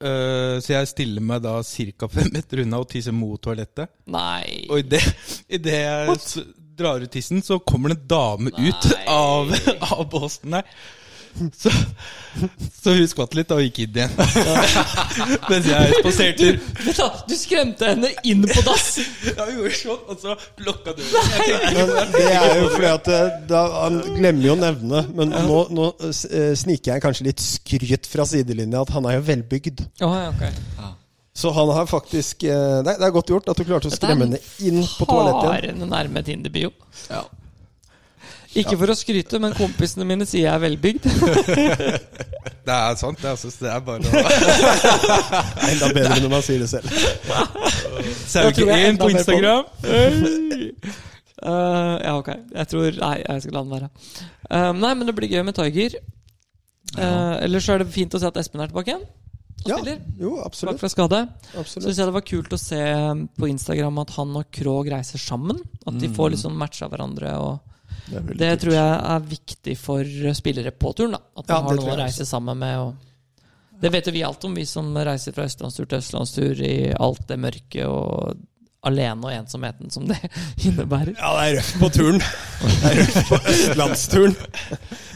Speaker 2: Eh, så jeg stiller meg da ca. fem meter unna og tisser mot toalettet.
Speaker 1: Nei.
Speaker 2: Og idet i det jeg s- drar ut tissen, så kommer det en dame ut
Speaker 1: Nei.
Speaker 2: av, av båsen der. Så, så hun skvatt litt og gikk inn igjen. Mens jeg spaserte.
Speaker 1: Vent da, du skremte henne inn på dass!
Speaker 2: Ja, hun gjorde sånn, og så lukka døren. Jeg tenkte,
Speaker 3: Men det er jo fordi at eh, da, Han glemmer jo å nevne, men nå, nå eh, sniker jeg kanskje litt skryt fra sidelinja at han er jo velbygd.
Speaker 1: Oh, ja, ok.
Speaker 3: Så han har faktisk eh, Nei, det er godt gjort at du klarte å
Speaker 1: Dette er en
Speaker 3: skremme henne inn på toalettet igjen.
Speaker 1: Harende nærme Tinder-bio. Ikke for å skryte, men kompisene mine sier jeg er velbygd.
Speaker 2: Det er sant, det. Altså, det er bare å
Speaker 3: Enda bedre når man sier det selv.
Speaker 1: jeg
Speaker 2: Sauge1
Speaker 1: enda
Speaker 2: på
Speaker 1: mer på
Speaker 2: Instagram.
Speaker 1: Hey. Eh, ja, ok. Jeg tror Nei, jeg skal la den være. Eh, nei, men det blir gøy med Tiger. Uh, Ellers så er det fint å se at Espen er tilbake igjen. Og
Speaker 3: Ja,
Speaker 1: spiller.
Speaker 3: jo,
Speaker 1: Tilbake
Speaker 3: absolutt.
Speaker 1: fra skade. Så
Speaker 3: absolutt.
Speaker 1: syns jeg det var kult å se eh, på Instagram at han og Krog reiser sammen. At de får litt sånn match av hverandre. Og
Speaker 4: Det, er veldig
Speaker 1: det
Speaker 4: kult.
Speaker 1: tror jeg er viktig for spillere på turen. da At
Speaker 3: Ja,
Speaker 1: man har
Speaker 3: det tror
Speaker 1: noen å
Speaker 3: jeg
Speaker 1: reise sammen med. Og det vet jo vi alt om, vi som reiser fra østlandstur til østlandstur i alt det mørke og alene og ensomheten som det innebærer.
Speaker 3: Ja, det er røft på turen. Det er røft på østlandsturen.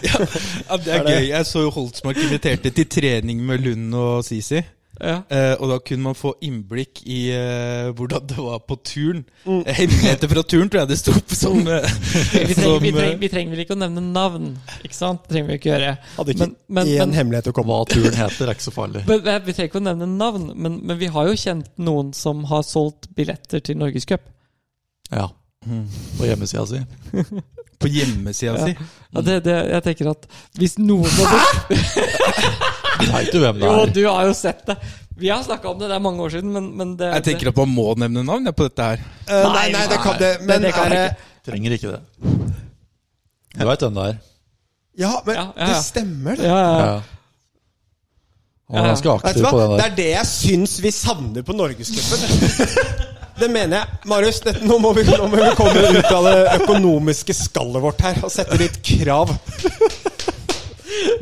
Speaker 2: Ja, det er gøy. Jeg så jo Holtsmark inviterte til trening med Lund og Sisi.
Speaker 1: Ja.
Speaker 2: Eh, og da kunne man få innblikk i eh, hvordan det var på turen. Eh, Hemmeligheter fra turen, tror jeg det sto på som, eh,
Speaker 1: Vi, trenger, vi,
Speaker 2: som eh,
Speaker 1: trenger, vi trenger vel ikke å nevne navn, ikke sant? Det trenger vi ikke gjøre.
Speaker 3: Hadde ikke
Speaker 1: Men- men-
Speaker 3: én
Speaker 1: men-
Speaker 3: hemmelighet å komme
Speaker 4: Hva turen heter, er ikke så farlig.
Speaker 1: Men, men vi trenger ikke å nevne navn, men, men vi har jo kjent noen som har solgt billetter til Norgescup.
Speaker 4: Ja.
Speaker 1: Mm.
Speaker 4: På hjemmesida si.
Speaker 2: på hjemmesida
Speaker 1: Ja.
Speaker 2: si.
Speaker 1: Ja, det, det, jeg tenker at hvis noen hadde
Speaker 4: Veit du hvem det
Speaker 1: Jo,
Speaker 4: er?
Speaker 1: du har jo sett det. Vi har snakka om det, det er mange år siden, men, men det
Speaker 2: Jeg tenker at man må nevne navn jeg, på dette her.
Speaker 3: Eh, Nei, nei, det kan det. Men
Speaker 1: det kan
Speaker 3: er det
Speaker 1: jeg
Speaker 4: Trenger ikke det. Du veit hvem det er.
Speaker 3: Ja, men
Speaker 1: Ja, ja, ja.
Speaker 3: det stemmer,
Speaker 1: det.
Speaker 3: det.
Speaker 1: Ja, ja.
Speaker 4: Ja. Han var ganske
Speaker 3: Vet du
Speaker 4: aktiv
Speaker 3: hva?
Speaker 4: på den
Speaker 3: Det
Speaker 4: der.
Speaker 3: er det jeg syns vi savner på Norgescupen. Det mener jeg. Marius, dette, nå, må vi, nå må vi komme ut av det økonomiske skallet vårt her og sette litt krav.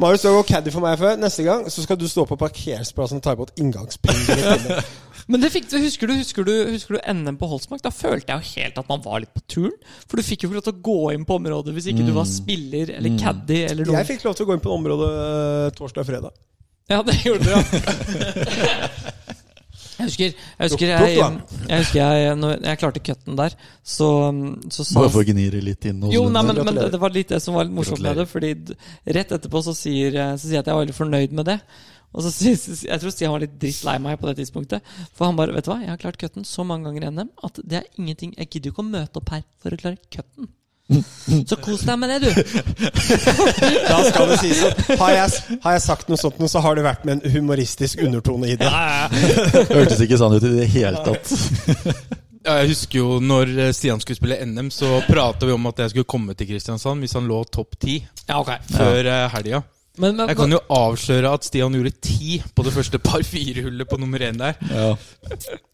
Speaker 3: Marius, du har gått caddy for meg før. Neste gang så skal du stå på parkeringsplassen og ta imot inngangspenger. i timen.
Speaker 1: Men det fikk, du- husker, du, husker, du, husker du NM på Holsmark? Da følte jeg jo helt at man var litt på turen. For du fikk jo ikke lov til å gå inn på området hvis ikke du
Speaker 4: Mm.
Speaker 1: var spiller eller caddy eller noe.
Speaker 3: Jeg fikk lov til å gå inn på området eh, torsdag og fredag.
Speaker 1: Ja, det gjorde du, ja. Jeg husker jeg husker jeg, jeg, husker jeg, når jeg klarte cutten der, så, så sa
Speaker 4: Bare for å gnire litt inn sånn. hos
Speaker 1: jo, nei,
Speaker 4: den
Speaker 1: men,
Speaker 4: der.
Speaker 1: men det var litt det som var litt morsomt med det. Fordi d- rett etterpå så sier, eh, så sier jeg at jeg var veldig fornøyd med det. Og så sier så sier- Jeg tror Stian var litt drittlei meg på det tidspunktet. For han bare Vet du hva, jeg har klart cutten så mange ganger i NM at det er ingenting Jeg gidder jo ikke å møte opp her for å klare cutten. Så kos deg med det, du.
Speaker 3: Da skal det sies at har jeg, har jeg sagt noe sånt, nå, så har det vært med en humoristisk undertone i det.
Speaker 4: Hørtes ikke sånn ut i det hele tatt.
Speaker 2: Ja, jeg husker jo når eh, Stian skulle spille NM, så prata vi om at jeg skulle komme til Kristiansand hvis han lå topp ti
Speaker 1: Ja, ok.
Speaker 2: før ja. helga.
Speaker 1: Men, men,
Speaker 2: Jeg kan jo avsløre at Stian gjorde ti på det første par fire-hullet på nummer én der.
Speaker 4: Ja.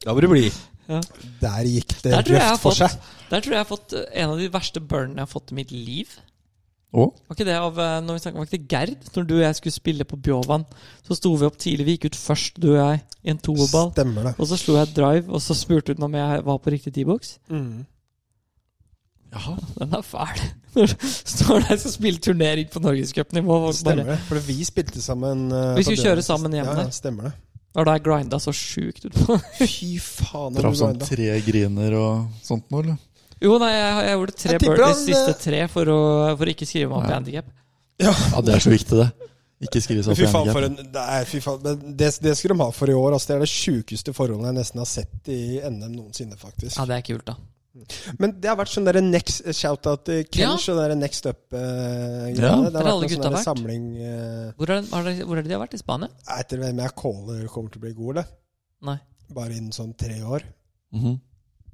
Speaker 2: Da må det bli.
Speaker 3: Der gikk det
Speaker 1: Der tror, jeg jeg har
Speaker 3: røft for seg.
Speaker 1: fått, der tror jeg jeg har fått eh, en av de verste burnene jeg har fått i mitt liv.
Speaker 4: Og
Speaker 1: Var ikke det av eh, når vi snakket, var ikke det Gerd? Når du og jeg skulle spille på Bjovan, så sto vi opp tidlig. Vi gikk ut først, du og jeg, i en toerball.
Speaker 3: Stemmer det.
Speaker 1: Og så slo jeg drive, og så spurte hun om jeg var på riktig T-box.
Speaker 4: Jaha.
Speaker 1: Den er fæl. Når du står der og skal spille turnering på norgescupnivå. og
Speaker 3: Stemmer
Speaker 1: bare-
Speaker 3: det. For vi spilte sammen. eh,
Speaker 1: Vi skulle
Speaker 3: på
Speaker 1: kjøre
Speaker 3: Bjørnar.
Speaker 1: sammen hjem
Speaker 3: ja,
Speaker 1: der.
Speaker 3: ja, stemmer det.
Speaker 1: Det var da jeg grinda så sjukt utpå.
Speaker 3: Fy faen. han
Speaker 4: Traff
Speaker 3: var
Speaker 4: sånn
Speaker 3: enda.
Speaker 4: tre griner og sånt nå, eller?
Speaker 1: Jo, nei, jeg, jeg gjorde tre
Speaker 3: Jeg tipper
Speaker 1: birdies
Speaker 3: han,
Speaker 1: siste
Speaker 3: eh,
Speaker 1: tre for å, for å ikke skrive meg opp i handikap.
Speaker 4: Ja, det er så viktig, det. Ikke skriv
Speaker 3: Men
Speaker 4: sånn
Speaker 3: Fy faen,
Speaker 4: handicap.
Speaker 3: for en Nei, fy faen. Men det, det skulle de ha for i år. Altså, det er det sjukeste forholdet jeg nesten har sett i NM noensinne, faktisk.
Speaker 1: Ja, det er kult, da.
Speaker 3: Men det har vært sånn derre next shout-out til
Speaker 1: Ja.
Speaker 3: Kench og derre Next Up-greiene.
Speaker 4: Ja.
Speaker 3: det
Speaker 1: Der
Speaker 3: har
Speaker 1: har alle
Speaker 3: vært en sånn
Speaker 1: gutta
Speaker 3: derre
Speaker 1: vært.
Speaker 3: samling eh,
Speaker 1: Hvor er, har dere- hvor er det de har vært? I Spania?
Speaker 3: Jeg vet ikke hvem jeg caller kommer til å bli god, eller?
Speaker 1: Nei.
Speaker 3: Bare innen sånn tre år.
Speaker 4: Mhm.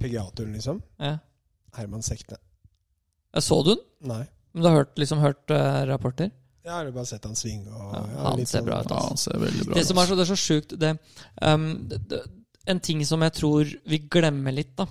Speaker 3: PGA-turen, liksom.
Speaker 1: Ja.
Speaker 3: Herman Sekne.
Speaker 1: Jeg så du den?
Speaker 3: Nei.
Speaker 1: Men du har hørt, liksom, hørt eh, rapporter?
Speaker 3: Jeg har jo bare sett han svinge og
Speaker 1: Ja,
Speaker 3: ja,
Speaker 1: han
Speaker 3: litt
Speaker 1: ser
Speaker 3: sånn-
Speaker 1: bra ut,
Speaker 4: Ja, han ser veldig bra
Speaker 1: Det
Speaker 4: ut.
Speaker 1: som er så, det er så sjukt det, ehm, det, det, En ting som jeg tror vi glemmer litt da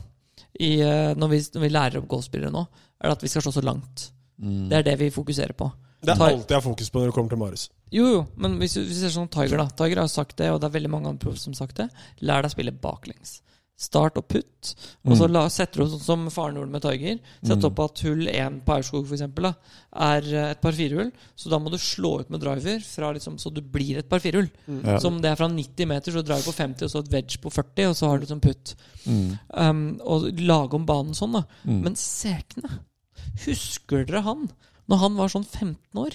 Speaker 1: i, eh, når, vi, når vi lærer opp golfspillere nå, er at vi skal slå så langt.
Speaker 4: Mm.
Speaker 1: Det er det vi fokuserer på.
Speaker 3: Det er
Speaker 1: Tar-
Speaker 3: alt jeg har fokus på når det kommer til Marius.
Speaker 1: Jo, jo, men hvis du hvis du ser sånn Tiger, da. Tiger har jo sagt det, og det er veldig mange andre proff som har sagt det. Lær deg å spille baklengs. Start og putt. Og
Speaker 4: Mm.
Speaker 1: så la, setter du opp sånn som faren gjorde med Tiger. Sett opp at hull 1 på Aurskog for eksempel, da, er eh, et par firehull. Så da må du slå ut med driver fra liksom, så du blir et par firehull.
Speaker 4: Ja.
Speaker 1: Så om det er fra 90 meter, så drar du på 50, og så et wedge på 40, og så har du liksom putt.
Speaker 4: Mm.
Speaker 1: Um, og lage om banen sånn, da.
Speaker 4: Mm.
Speaker 1: Men Sekne, husker dere han? Når han var sånn 15 år?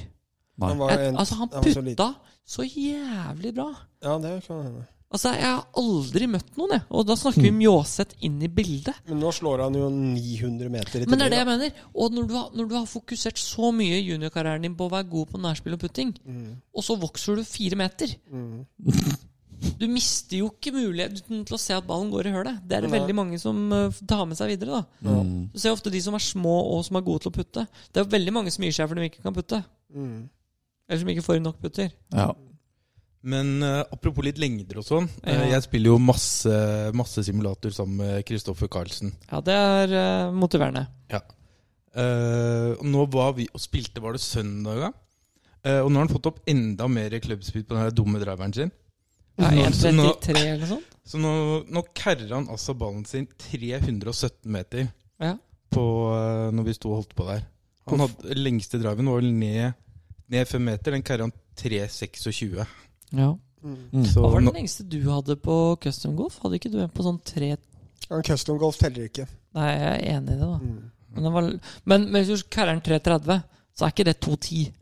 Speaker 4: Nei.
Speaker 3: Han var
Speaker 1: Jeg,
Speaker 3: en-
Speaker 1: altså, han
Speaker 3: var så liten.
Speaker 1: putta så jævlig bra.
Speaker 3: Ja, det kan hende.
Speaker 1: Altså, jeg har aldri møtt noen, jeg. Og da snakker vi Mjåseth inn i bildet.
Speaker 3: Men nå slår han jo 900 meter i
Speaker 1: Men det
Speaker 3: tillegg,
Speaker 1: er det jeg mener. Og når du har, når du har fokusert så mye i juniorkarrieren din på å være god på nærspill og putting,
Speaker 3: Mm.
Speaker 1: og så vokser du fire meter Du mister jo ikke muligheten til å se at ballen går i hølet. Det er det
Speaker 3: Nei.
Speaker 1: veldig mange som eh, tar med seg videre. da
Speaker 3: da. Ja.
Speaker 4: Mm.
Speaker 1: Du ser ofte de som er små og som er gode til å putte. Det er veldig mange som gir seg fordi de ikke kan putte.
Speaker 3: Mm.
Speaker 1: Eller som ikke får nok putter.
Speaker 4: Ja.
Speaker 2: Men eh, apropos litt lengder og sånn. eh,
Speaker 1: Ja.
Speaker 2: jeg spiller jo masse, masse simulator sammen med Kristoffer Carlsen.
Speaker 1: Ja, det er eh, motiverende.
Speaker 2: Eh, og nå var vi og spilte, var det søndag? da? Eh, og nå har han fått opp enda mer clubspeed på den her dumme driveren sin.
Speaker 1: Ja,
Speaker 2: Nå- så nå,
Speaker 1: 1,33 eller noe sånt.
Speaker 2: så nå, nå carrer han altså ballen sin 317 meter
Speaker 1: Ja.
Speaker 2: på, eh, når vi sto og holdt på der. Han hadde, lengste driven var vel ned, ned 5 meter. Den carrer han 326.
Speaker 1: Ja.
Speaker 3: Mm.
Speaker 4: Mm.
Speaker 2: Så
Speaker 1: Hva var
Speaker 2: nå,
Speaker 1: den lengste du hadde på custom golf? Hadde ikke du en på sånn tre
Speaker 3: Ja, Custom golf teller ikke.
Speaker 1: Nei, jeg er enig i det, da.
Speaker 3: Mm.
Speaker 1: Men, den var... men, men hvis du kaller den 3,30, så er ikke det 2,10.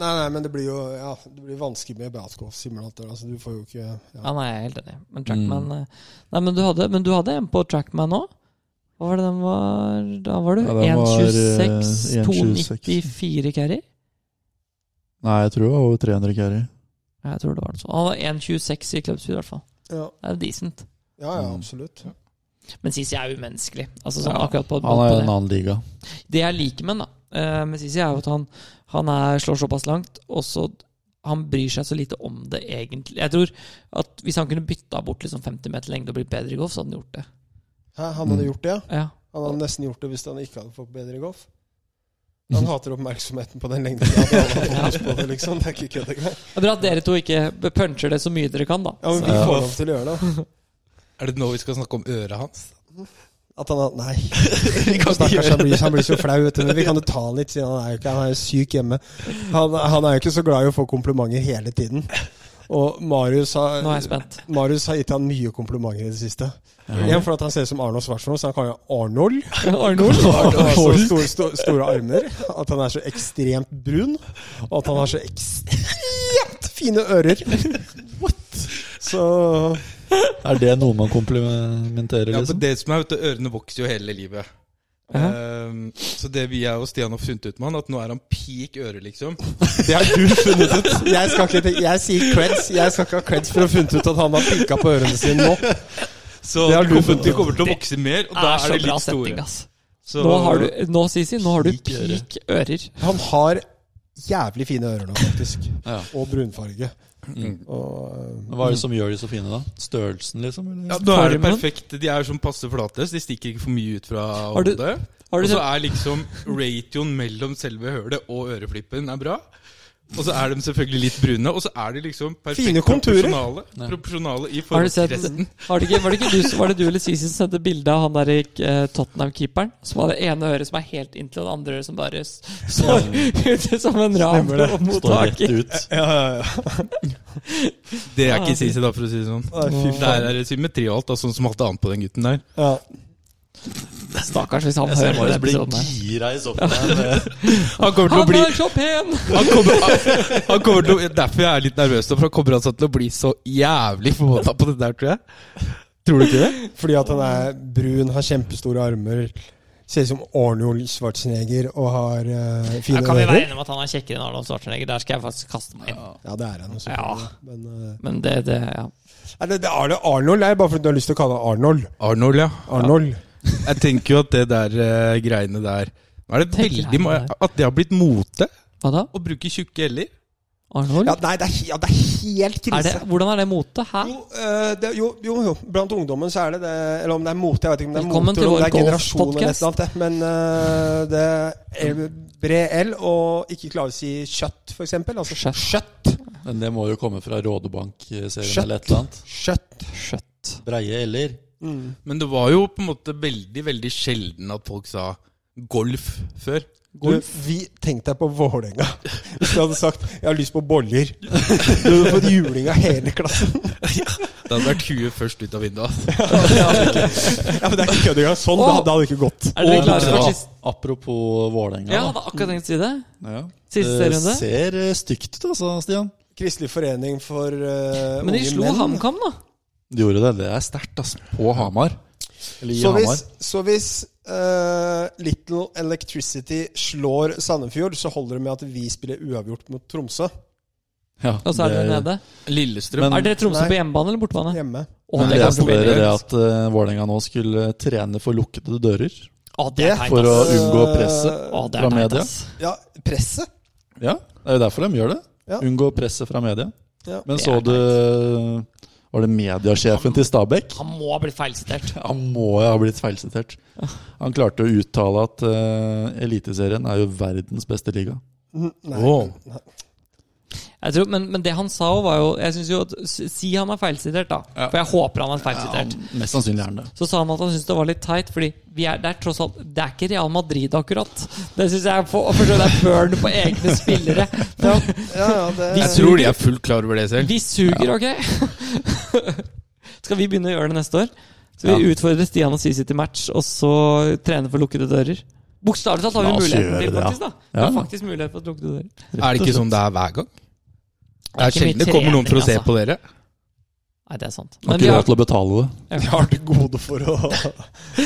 Speaker 3: Nei, nei, men det blir jo ja, det blir vanskelig med Batgolf-simulator. Altså, du får jo ikke
Speaker 1: Ja,
Speaker 3: ja.
Speaker 1: nei, jeg er helt enig. Men Trackman
Speaker 4: Mm.
Speaker 1: eh, Nei, men du hadde, men du hadde en på Trackman òg? Hva var det den var Da var du
Speaker 4: Ja, den var, eh,
Speaker 1: 1,26, 2,94 carry?
Speaker 4: Nei, jeg tror det var over 300 carry.
Speaker 1: Ja, Jeg tror det var det. Så Han var 1,26 i clubspeed, i hvert fall.
Speaker 3: Ja,
Speaker 1: Det er jo decent.
Speaker 3: ja, ja
Speaker 4: Mm.
Speaker 3: absolutt.
Speaker 1: Men Sisi er umenneskelig. Altså sånn
Speaker 4: Ja.
Speaker 1: akkurat på, på
Speaker 4: Han er i
Speaker 1: det.
Speaker 4: en annen liga.
Speaker 1: Det jeg liker med han, da, eh, med Sisi, er jo at han, han er, slår såpass langt, og så han bryr seg så lite om det egentlig. Jeg tror at Hvis han kunne bytta bort liksom 50 meter lengde og blitt bedre i golf, så hadde han gjort det.
Speaker 3: Hæ, han hadde
Speaker 4: Mm.
Speaker 3: gjort det, ja?
Speaker 1: Ja.
Speaker 3: Han hadde nesten gjort det hvis han ikke hadde fått bedre golf. Han hater oppmerksomheten på den lengden. Ja, det hadde han fokus på det, liksom. Det er ikke kødd engang.
Speaker 1: Det er bra at dere to ikke puncher det så mye dere kan, da.
Speaker 3: Ja, men vi
Speaker 1: Så-
Speaker 3: får lov til å gjøre det.
Speaker 2: er det nå vi skal snakke om øret hans?
Speaker 3: At han har Nei. Stakkars, han blir, han blir så flau, vet du. Men vi kan jo ta han litt, siden han er jo ikke Han er jo syk hjemme. Han, han er jo ikke så glad i å få komplimenter hele tiden. Og Marius har,
Speaker 1: Nå er jeg spent.
Speaker 3: Marius har gitt han mye komplimenter i det siste.
Speaker 4: Ja.
Speaker 3: Igjen for at han ser ut som Arnold Schwarzenegger, så han kaller han Arnold.
Speaker 1: Arnold?
Speaker 3: At han har så store, store, store armer, at han er så ekstremt brun, og at han har så ekstremt fine ører. Så
Speaker 4: Er det noe man komplimenterer,
Speaker 2: Ja, for
Speaker 4: liksom?
Speaker 2: det som er, vet du, Ørene vokser jo hele livet. Ehm, så det vi jeg og Stian har funnet ut med han, at nå er han peak øre, liksom.
Speaker 3: det har du funnet ut. Jeg, skal ikke, jeg sier creds. Jeg skal ikke ha creds for å ha funnet ut at han har pikka på ørene sine nå. Det
Speaker 2: Så det
Speaker 3: har du
Speaker 2: kommer,
Speaker 3: funnet
Speaker 2: de kommer til å vokse mer, og da
Speaker 1: Det er
Speaker 2: er
Speaker 1: så
Speaker 2: de
Speaker 1: bra
Speaker 2: litt
Speaker 1: setting,
Speaker 2: store.
Speaker 1: ass.
Speaker 2: Så,
Speaker 1: Nå, har du, nå Sisi, nå har du
Speaker 4: Peak øre.
Speaker 1: peak ører.
Speaker 3: Han har jævlig fine ører nå, faktisk.
Speaker 4: Ja.
Speaker 3: Og brunfarge.
Speaker 4: Mm.
Speaker 3: Og,
Speaker 4: Hva er det som gjør de så fine, da? Størrelsen, liksom?
Speaker 2: ja,
Speaker 4: Eller?
Speaker 2: da er det
Speaker 1: Formen.
Speaker 2: perfekt. De er sånn passe flate, så de stikker ikke for mye ut fra
Speaker 1: Har du-
Speaker 2: hodet.
Speaker 1: Har
Speaker 2: Og
Speaker 1: du
Speaker 2: så
Speaker 1: sett
Speaker 2: er liksom ratioen mellom selve hølet og øreflippen er bra. Og så er de selvfølgelig litt brune, og så er de liksom perfekt
Speaker 3: Fine konturer.
Speaker 2: proporsjonale, proporsjonale i
Speaker 1: Har du
Speaker 2: forhold til
Speaker 1: sett,
Speaker 2: resten.
Speaker 1: var, det ikke, var, det ikke du, som- var det du eller Sisi som sendte bilde av han der eh, Tottenham-keeperen? Som har det ene øret som er helt inntil, og det andre øret som bare s- står ute som en ram
Speaker 3: Stemmer det.
Speaker 1: på
Speaker 4: Står rett
Speaker 1: mottaker.
Speaker 4: ut.
Speaker 3: ja, ja, ja.
Speaker 2: Det er ikke Sisi, da, for å si det sånn.
Speaker 3: Nei, Fy
Speaker 2: Der
Speaker 3: faen.
Speaker 2: er det symmetri og alt, da, sånn som alt annet på den gutten der.
Speaker 3: Ja.
Speaker 1: Stakkars hvis han
Speaker 4: Jeg ser
Speaker 1: hører
Speaker 4: Marius
Speaker 1: den
Speaker 4: bli
Speaker 1: episoden her.
Speaker 4: gira i sofaen. der.
Speaker 2: Han kommer til å
Speaker 1: Han
Speaker 2: bli
Speaker 1: er så pen!
Speaker 2: han kommer, han kommer til å, Derfor jeg er litt nervøs nå, for han kommer altså til å bli så jævlig forbanna på det der, tror jeg. Tror du ikke det?
Speaker 3: Fordi at han er brun, har kjempestore armer, ser ut som Arnold Schwarzenegger og har eh,
Speaker 1: Ja,
Speaker 3: fine
Speaker 1: kan vi være
Speaker 3: ører.
Speaker 1: enige om at han er kjekkere enn Arnold Schwarzenegger? Der skal jeg faktisk kaste meg inn.
Speaker 3: Ja, det er han også.
Speaker 1: Ja.
Speaker 3: Men, eh,
Speaker 1: Men det, det ja.
Speaker 3: nei, det, det er det Arnold er bare fordi du har lyst til å kalle han Arnold.
Speaker 2: Arnold, ja.
Speaker 3: Arnold.
Speaker 2: Jeg tenker jo at det der eh, greiene der Nå er det
Speaker 1: Tenk
Speaker 2: veldig
Speaker 1: greiene
Speaker 2: ma-
Speaker 1: der.
Speaker 2: At det har blitt mote
Speaker 1: Hva da?
Speaker 2: å bruke tjukke l-er.
Speaker 1: Arnold?
Speaker 3: Ja, nei, det er, he- ja, det er helt
Speaker 1: er det,
Speaker 3: krise.
Speaker 1: hvordan er det mote? Hæ?
Speaker 3: Jo, eh, det, jo, jo, jo, blant ungdommen så er det det Eller om det er mote, jeg vet ikke om det er
Speaker 1: Velkommen
Speaker 3: mote
Speaker 1: til
Speaker 3: eller om det er
Speaker 1: vår
Speaker 3: generasjon eller et
Speaker 1: golfpodcast.
Speaker 3: eller annet. det. Men eh, det er bred L, og ikke klare å si kjøtt, for eksempel. Altså
Speaker 1: Kjøtt.
Speaker 3: kjøtt.
Speaker 4: Men det må jo komme fra Rådebank-serien
Speaker 3: Shut.
Speaker 4: eller et eller annet.
Speaker 3: Kjøtt.
Speaker 1: Skjøtt.
Speaker 4: Breie eller
Speaker 2: Men det var jo på en måte veldig, veldig sjelden at folk sa golf før.
Speaker 3: Du, vi Tenk deg på Vålerenga. Hvis du hadde sagt 'jeg har lyst på boller', du hadde fått juling av hele klassen.
Speaker 2: Det hadde vært huet først ut av vinduet. altså.
Speaker 3: Ja, men det er ikke kødd engang. Sånn, det hadde- det hadde ikke gått.
Speaker 1: Er dere
Speaker 4: Og
Speaker 1: klare for
Speaker 4: ap-
Speaker 1: siste
Speaker 4: apropos Vålerenga.
Speaker 1: Ja,
Speaker 4: da.
Speaker 1: jeg hadde akkurat tenkt å si det.
Speaker 4: Ja.
Speaker 1: Siste
Speaker 4: det
Speaker 1: runde.
Speaker 4: ser eh, stygt ut, altså, Stian.
Speaker 3: Kristelig forening for eh,
Speaker 1: Men de
Speaker 3: unge
Speaker 1: slo
Speaker 3: menn.
Speaker 1: HamKam, da.
Speaker 4: De gjorde det. Det er sterkt, altså. På Hamar. Eller i
Speaker 3: Så hvis,
Speaker 4: Hamar.
Speaker 3: så hvis eh, Little Electricity slår Sandefjord, så holder det med at vi spiller uavgjort mot Tromsø
Speaker 4: Ja,
Speaker 1: Og så er dere nede.
Speaker 2: Lillestrøm.
Speaker 4: Men-
Speaker 1: Er dere Tromsø
Speaker 3: Nei.
Speaker 1: på hjemmebane eller bortebane?
Speaker 3: hjemme.
Speaker 1: Å,
Speaker 4: Men
Speaker 1: det
Speaker 4: det
Speaker 1: kan
Speaker 4: er
Speaker 1: bli
Speaker 4: flere
Speaker 1: gøy.
Speaker 4: det at eh, Vålerenga nå skulle trene for lukkede dører.
Speaker 1: Å, det er teit,
Speaker 4: For å
Speaker 1: ass.
Speaker 4: unngå presset.
Speaker 1: Å, det er
Speaker 4: fra
Speaker 1: teit,
Speaker 4: media.
Speaker 1: ass.
Speaker 3: eh, Ja, presset.
Speaker 4: Ja, det er jo derfor de gjør det.
Speaker 3: Ja.
Speaker 4: Unngå presset fra media.
Speaker 3: Ja.
Speaker 4: Men
Speaker 1: Det
Speaker 4: så
Speaker 1: er
Speaker 4: du Var det mediasjefen til Stabæk?
Speaker 1: Han må ha blitt feilsitert.
Speaker 4: Han må jo ha blitt feilsitert. Han klarte å uttale at eh, Eliteserien er jo verdens beste liga.
Speaker 3: Mm, Nei.
Speaker 2: Åh.
Speaker 3: nei.
Speaker 1: Jeg tror, men, men det han sa, var jo Jeg synes jo at Si han er feilsitert, da. For jeg håper han er feilsitert.
Speaker 4: Mest sannsynlig er han det.
Speaker 1: Så sa han at han syntes det var litt teit, fordi vi er, det er tross alt Det er ikke Real Madrid, akkurat. Det syns jeg er for, for det er burn på egne spillere.
Speaker 3: Ja, ja, ja, det,
Speaker 2: Jeg tror de er fullt klar over det selv.
Speaker 1: Vi suger, ok? Skal vi begynne å gjøre det neste år? Så vi utfordrer Stian og Sisi til match, og så trene for lukkede dører. Bokstavelig talt har vi
Speaker 4: La oss
Speaker 1: muligheten
Speaker 4: gjøre
Speaker 1: til,
Speaker 4: det, ja.
Speaker 1: faktisk. da Vi
Speaker 4: Ja.
Speaker 1: har faktisk mulighet for lukkede dører.
Speaker 2: Er det ikke sånn det er hver gang? Det er
Speaker 1: ikke mye
Speaker 2: sjelden det kommer noen for å se
Speaker 1: trening,
Speaker 2: på dere.
Speaker 1: altså. Nei, det er sant.
Speaker 4: Har
Speaker 1: Men vi
Speaker 4: ikke råd
Speaker 1: har,
Speaker 4: til å betale det.
Speaker 3: de har til gode for å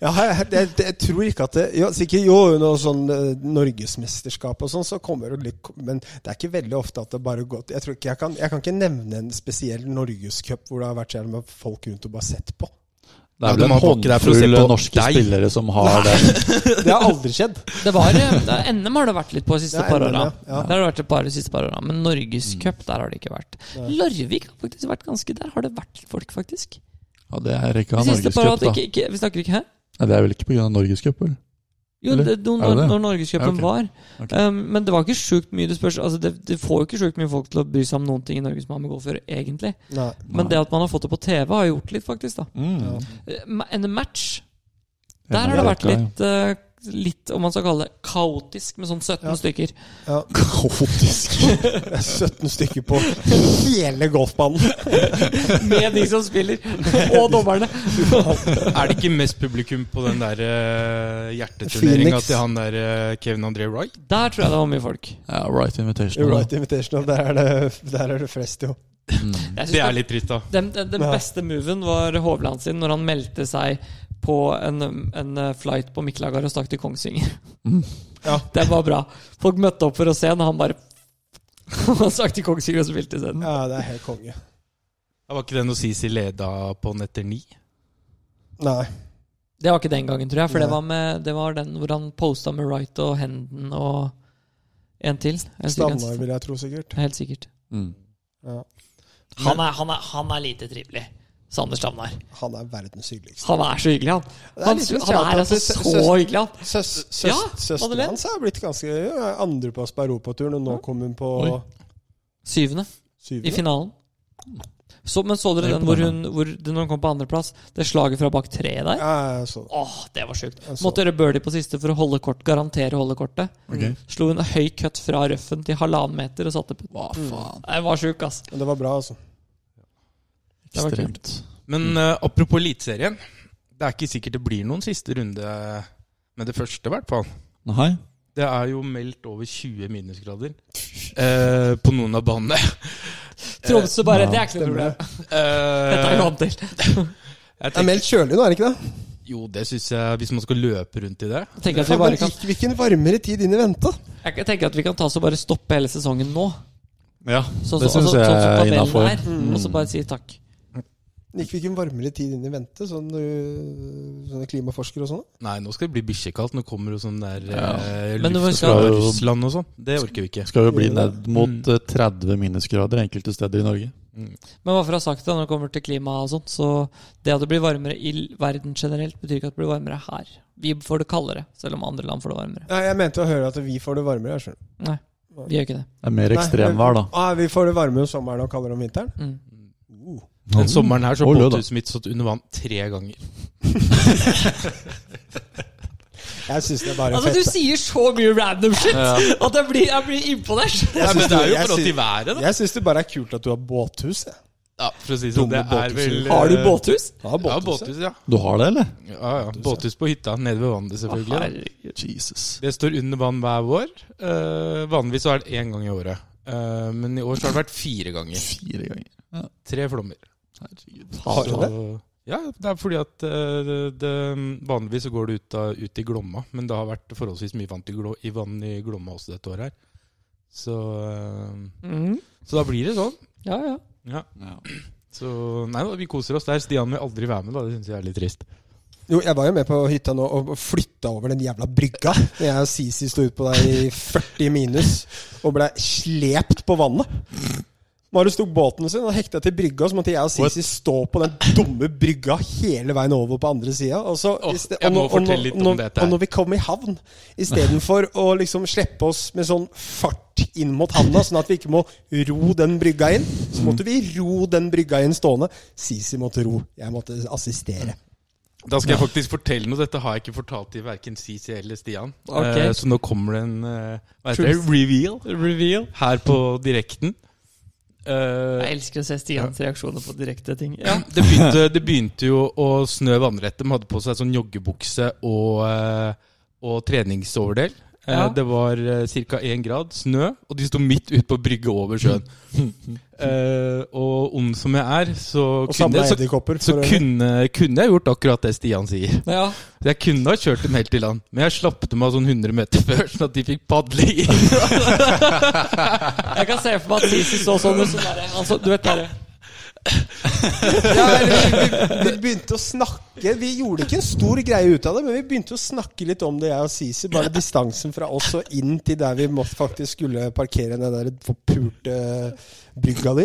Speaker 3: Ja, jeg, det, det, jeg tror ikke at det jo, Sikkert jo, noe sånn eh, norgesmesterskap og sånn, så kommer det litt Men det er ikke veldig ofte at det bare går Jeg, tror ikke, jeg, kan, jeg kan ikke nevne en spesiell norgescup hvor det har vært så jævlig med folk rundt og bare sett på.
Speaker 4: Det
Speaker 2: Ja,
Speaker 4: er vel
Speaker 2: de
Speaker 4: en
Speaker 2: har ikke det for å se
Speaker 4: håndfull
Speaker 2: på
Speaker 4: norske
Speaker 2: deg.
Speaker 4: spillere som har den.
Speaker 3: Det har aldri skjedd.
Speaker 1: det var eh, det- NM har det vært litt på de siste
Speaker 3: Det er
Speaker 1: par
Speaker 3: NM,
Speaker 1: åra.
Speaker 3: ja.
Speaker 1: Der har det vært et par de siste par åra. Men Norgescup, der har det ikke vært. Larvik har faktisk vært ganske Der har det vært folk, faktisk.
Speaker 4: Ja, det er ikke
Speaker 1: De
Speaker 4: av
Speaker 1: siste par
Speaker 4: Norgescup,
Speaker 1: åra
Speaker 4: da.
Speaker 1: ikke, ikke, Vi snakker ikke her?
Speaker 4: Nei, det er vel ikke pga. Norgescup, vel?
Speaker 1: Jo,
Speaker 4: Eller?
Speaker 1: det, det,
Speaker 4: Er det
Speaker 1: når,
Speaker 4: det?
Speaker 1: når Norgescupen
Speaker 4: Ja, ok.
Speaker 1: var.
Speaker 4: Ok.
Speaker 1: Um, men det var ikke sjukt mye det spørs Altså, det, det får jo ikke sjukt mye folk til å bry seg om noen ting i Norge som har med golf å gjøre, egentlig.
Speaker 3: Nei.
Speaker 1: Men
Speaker 4: Nei.
Speaker 1: det at man har fått det på TV, har gjort litt, faktisk. da
Speaker 4: Mm.
Speaker 1: Eh, ma- En match Der har det vært litt eh, Litt, om man skal kalle det, kaotisk med sånn 17
Speaker 3: Ja.
Speaker 1: stykker.
Speaker 3: Ja. Kaotisk. Det er 17 stykker på hele golfbanen.
Speaker 1: Med de som spiller, og dommerne!
Speaker 2: Er det ikke mest publikum på den der uh, hjerteturneringa
Speaker 3: Phoenix.
Speaker 2: til han der eh, Kevin André Wright?
Speaker 1: Der tror jeg det var mye folk.
Speaker 4: Ja, Right Invitational.
Speaker 3: Right Invitational, der er det, der er det flest, jo.
Speaker 4: Mm.
Speaker 1: Jeg synes
Speaker 2: Det er litt trist, da.
Speaker 1: Den, den, den
Speaker 3: Ja.
Speaker 1: beste moven var Hovland sin når han meldte seg på en, en eh, flight på Mikkelagar og stakk til Kongsvinger.
Speaker 3: Mm. Ja.
Speaker 1: Det var bra. Folk møtte opp for å se han, og han bare Han stakk til Kongsvinger og spilte isteden.
Speaker 3: Ja, det er helt konge.
Speaker 2: Det var ikke det noe Sisi leda på den etter ni?
Speaker 3: Nei.
Speaker 1: Det var ikke den gangen, tror jeg, for det
Speaker 3: Nei.
Speaker 1: var, med, det var den hvor han posta med Wright og Henden og en til. Jeg husker ikke
Speaker 3: Standard,
Speaker 1: helt-
Speaker 3: vil jeg tro, sikkert.
Speaker 1: Helt sikkert.
Speaker 4: Mm.
Speaker 3: Ja.
Speaker 1: Han er, han er, han er lite trivelig. Sander Stamnar.
Speaker 3: Han er verdens hyggeligste.
Speaker 1: Han er så hyggelig, han.
Speaker 3: er
Speaker 1: Han,
Speaker 3: litt sånn spesielt
Speaker 1: han er
Speaker 3: at
Speaker 1: altså
Speaker 3: sø-
Speaker 1: så
Speaker 3: søs-
Speaker 1: hyggelig, han.
Speaker 3: Søs, søs,
Speaker 1: Ja,
Speaker 3: søsteren
Speaker 1: Madeleine.
Speaker 3: hans er blitt ganske ja, andreplass på europaturen, og nå kom hun på
Speaker 4: Oi.
Speaker 1: Syvende. I
Speaker 3: syvende.
Speaker 1: finalen. Så, men så dere
Speaker 4: Det er
Speaker 1: den hvor hun,
Speaker 4: imponerende.
Speaker 1: hvor, den- når hun kom på andreplass? Det slaget fra bak treet der?
Speaker 3: Ja, jeg så det.
Speaker 1: Åh, det var sjukt.
Speaker 3: Jeg så
Speaker 1: Måtte gjøre birdie på siste for å holde kort, garantere holde kortet.
Speaker 4: Ok.
Speaker 1: Slo en høy cut fra røffen til halvannen meter og satte putt.
Speaker 4: Hva faen?
Speaker 1: Det var sjuk, ass.
Speaker 3: Men det var bra, altså.
Speaker 1: Det var
Speaker 4: Mm. Ekstremt.
Speaker 2: Mm. Men eh, apropos Eliteserien. det er ikke sikkert det blir noen siste runde med det første, i hvert fall.
Speaker 4: Nei.
Speaker 1: Altså,
Speaker 2: Det er jo meldt over 20 minusgrader eh, på noen av banene.
Speaker 1: Tromsø bare
Speaker 4: Ja,
Speaker 1: Det er ikke noe problem. Dette er vi
Speaker 2: Eh,
Speaker 1: vant til.
Speaker 2: jeg
Speaker 3: Det er
Speaker 2: tenker,
Speaker 3: meldt kjølig nå, er det ikke det?
Speaker 2: jo, det syns jeg, hvis man skal løpe rundt i det.
Speaker 1: Jeg tenker at vi
Speaker 3: Faen,
Speaker 1: bare
Speaker 3: men
Speaker 1: kan
Speaker 3: gikk vi ikke en varmere tid inn i vente?
Speaker 1: Jeg tenker at vi kan ta oss og bare stoppe hele sesongen nå.
Speaker 4: Ja,
Speaker 1: Sånn,
Speaker 4: det
Speaker 1: som-
Speaker 4: syns
Speaker 1: altså,
Speaker 4: jeg
Speaker 1: sånn som
Speaker 4: er
Speaker 1: tabellen
Speaker 4: innafor. Mm.
Speaker 1: er, Og så bare si takk.
Speaker 3: Gikk vi ikke en varmere tid inn i vente, sånn øh, sånne klimaforskere og sånn?
Speaker 2: Nei, nå skal det bli bikkjekaldt. Nå kommer det sånn der eh,
Speaker 1: Men du må
Speaker 2: luft
Speaker 1: huske
Speaker 2: fra
Speaker 4: at-
Speaker 2: Russland og sånn. Det orker vi ikke.
Speaker 4: Skal jo bli ned
Speaker 1: Mm.
Speaker 4: mot eh, 30 minusgrader enkelte steder i Norge.
Speaker 1: Men hva for å ha sagt det når det kommer til klima og sånt, så det at det blir varmere i verden generelt, betyr ikke at det blir varmere her. Vi får det kaldere, selv om andre land får det varmere.
Speaker 3: Ja, jeg mente å høre at vi får det varmere. Jeg skjønner.
Speaker 1: Nei, vi gjør ikke det.
Speaker 4: Det er mer
Speaker 3: Nei,
Speaker 4: ekstremvær, da.
Speaker 3: Ah, vi får det varmere om sommeren og kaldere om vinteren?
Speaker 1: Mm.
Speaker 3: Uh.
Speaker 2: Den sommeren her så
Speaker 4: Og
Speaker 2: har
Speaker 4: lød, da.
Speaker 2: båthuset mitt stått under vann tre ganger.
Speaker 3: Jeg syns det er bare
Speaker 1: Altså, du
Speaker 3: fett.
Speaker 1: sier så mye random shit at jeg blir, jeg blir imponert.
Speaker 2: Nei,
Speaker 3: synes
Speaker 2: men det er jo
Speaker 3: jeg
Speaker 2: for
Speaker 3: synes-
Speaker 2: i været, da.
Speaker 3: Jeg syns det bare er kult at du har båthus. Jeg.
Speaker 2: Ja, for å si det sånn.
Speaker 3: Dumme
Speaker 2: Det er vel
Speaker 3: båthus.
Speaker 2: eh,
Speaker 1: Har du båthus?
Speaker 3: Jeg har
Speaker 2: Ja,
Speaker 3: båthus. jeg.
Speaker 2: båthus, ja.
Speaker 4: Du har det, eller?
Speaker 2: Ja, ja. Båthus på hytta nede ved vannet, selvfølgelig. da.
Speaker 1: Herregud.
Speaker 4: Jesus.
Speaker 2: Det står under vann hver vår. Eh, vanligvis så er det én gang i året. Eh, men i år så har det vært fire ganger.
Speaker 4: Fire ganger.
Speaker 2: Tre flommer.
Speaker 4: Herregud.
Speaker 3: Har du
Speaker 2: Så-
Speaker 3: det?
Speaker 2: Ja, det er fordi at eh, det, det, vanligvis så går det ut, av, ut i Glomma, men det har vært forholdsvis mye vann, til Glo, i vann i Glomma også dette året her. Så, eh,
Speaker 1: Mm.
Speaker 2: så da blir det sånn.
Speaker 1: Ja, ja.
Speaker 2: Ja.
Speaker 4: Ja.
Speaker 2: Så nei da, vi koser oss der. Stian vil aldri være med, da. Det syns jeg er litt trist.
Speaker 3: Jo, jeg var jo med på hytta nå og flytta over den jævla brygga. Når Jeg og Sisi sto utpå der i 40 minus og ble slept på vannet. Marius tok båten sin og hekta til brygga, så måtte jeg og Sisi stå på den dumme brygga hele veien over på andre sida. Og, så-
Speaker 2: Åh,
Speaker 3: i ste-
Speaker 2: jeg
Speaker 3: og når-
Speaker 2: må
Speaker 3: og når-
Speaker 2: fortelle litt
Speaker 3: og
Speaker 2: om
Speaker 3: når-
Speaker 2: dette her.
Speaker 3: Og når vi kom i havn, istedenfor å liksom slippe oss med sånn fart inn mot havna, sånn at vi ikke må ro den brygga inn, så måtte vi ro den brygga inn stående. Sisi måtte ro. Jeg måtte assistere.
Speaker 2: Da skal jeg faktisk fortelle noe. Dette har jeg ikke fortalt til verken Sisi eller Stian.
Speaker 1: Ok.
Speaker 2: Eh, så nå kommer det en eh, hva heter det? reveal
Speaker 1: Reveal.
Speaker 2: her på direkten. Eh,
Speaker 1: Jeg elsker å se Stians reaksjoner på direkte ting. Ja.
Speaker 2: det, begynte, det begynte jo å snø vannrett. De hadde på seg sånn joggebukse og, eh, og treningsoverdel. Eh,
Speaker 1: Ja.
Speaker 2: Det var ca. én grad snø, og de sto midt ute på brygge over sjøen. Eh, og ond som jeg er, så,
Speaker 3: Og
Speaker 2: kunne,
Speaker 3: samla
Speaker 2: så,
Speaker 3: edderkopper.
Speaker 2: så
Speaker 3: for øvrig.
Speaker 2: kunne, kunne jeg gjort akkurat det Stian sier.
Speaker 1: ja.
Speaker 2: Så Jeg kunne ha kjørt dem helt i land, men jeg slapp dem av sånn 100 meter før, sånn at de fikk padle inn.
Speaker 1: Jeg kan se for meg at Sisi så sånn ut. Sånn der, altså, du vet bare
Speaker 3: Ja, eller, vi, vi begynte å snakke Vi gjorde ikke en stor greie ut av det, men vi begynte å snakke litt om det, jeg og Sisi. Bare distansen fra oss og inn til der vi måtte faktisk skulle parkere den der forpulte brygga di.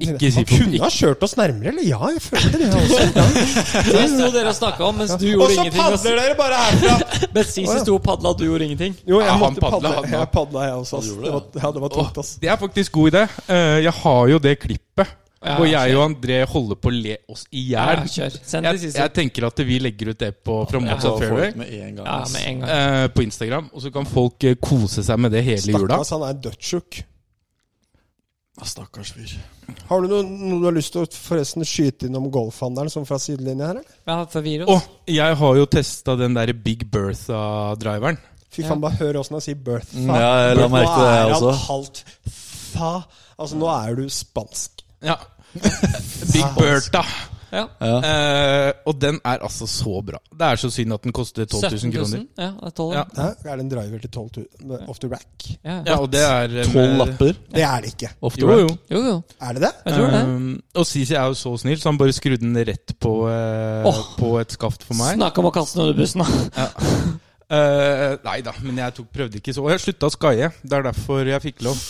Speaker 2: Ikke si
Speaker 3: Han
Speaker 2: for-
Speaker 3: kunne ha kjørt oss nærmere, eller? Ja, jeg følte det også.
Speaker 1: Det sto dere og snakka om, mens du gjorde ingenting.
Speaker 2: altså.
Speaker 1: og s-
Speaker 3: dere bare herfra!
Speaker 1: Mens Sisi sto og padla, og du gjorde ingenting.
Speaker 3: Jo, jeg
Speaker 2: Ja, han
Speaker 3: måtte
Speaker 2: padlet,
Speaker 3: padle.
Speaker 2: han da.
Speaker 3: Jeg padla, jeg også. Ass. Det var, ja, det var tungt, ass.
Speaker 2: Det er faktisk god idé. Eh, Jeg har jo det klippet
Speaker 1: Ja,
Speaker 2: hvor jeg og André holder på å le oss i hjel.
Speaker 1: Ja, kjør. Send til
Speaker 2: Jeg,
Speaker 1: Sisi.
Speaker 2: jeg tenker at vi legger ut det på fra
Speaker 4: Ta
Speaker 2: Mozart Fairway
Speaker 4: folk med en gang.
Speaker 1: Ja,
Speaker 4: ass.
Speaker 1: med en gang.
Speaker 2: eh, på Instagram, og så kan folk eh, kose seg med det hele jula.
Speaker 3: Stakkars, han er dødssjuk.
Speaker 4: Ja, Stakkars fyr.
Speaker 3: Har du noe, noe du har lyst til å forresten skyte inn om golfhandelen, som fra sidelinja her, eller?
Speaker 1: Ja, for virus.
Speaker 2: Og jeg har jo testa den derre Big Bertha-driveren.
Speaker 3: Fy
Speaker 1: Ja.
Speaker 3: faen, bare hør åssen han sier birth.
Speaker 4: Mm, ja, jeg la merke til det,
Speaker 3: Nå
Speaker 4: jeg
Speaker 3: er
Speaker 4: også.
Speaker 3: han halvt fa. Altså, nå er du spansk.
Speaker 2: Ja. Big Bertha.
Speaker 1: Ja.
Speaker 4: Ja.
Speaker 2: Eh, og den er altså så bra. Det er så synd at den koster 12 000 kroner.
Speaker 1: Ja, det er 12
Speaker 2: Ja.
Speaker 1: ja.
Speaker 3: Hæ? Er det en driver til 12 000 off the rack?
Speaker 1: Ja.
Speaker 2: Ja, og det er eh,
Speaker 4: Tolv
Speaker 2: med-
Speaker 4: lapper
Speaker 3: Det er det ikke.
Speaker 4: off the
Speaker 2: Jo,
Speaker 4: rack.
Speaker 2: jo.
Speaker 1: Jo, jo.
Speaker 3: Er det det?
Speaker 1: Jeg tror det.
Speaker 2: Um, og Sisi er jo så snill, så han bare skrudde den rett på, eh,
Speaker 1: Åh.
Speaker 2: på et skaft for meg.
Speaker 1: Snakk om å kaste noen under bussen, da.
Speaker 2: Eh, nei da, men jeg tok, prøvde ikke så. Og jeg slutta å skaie. Det er derfor jeg fikk lov.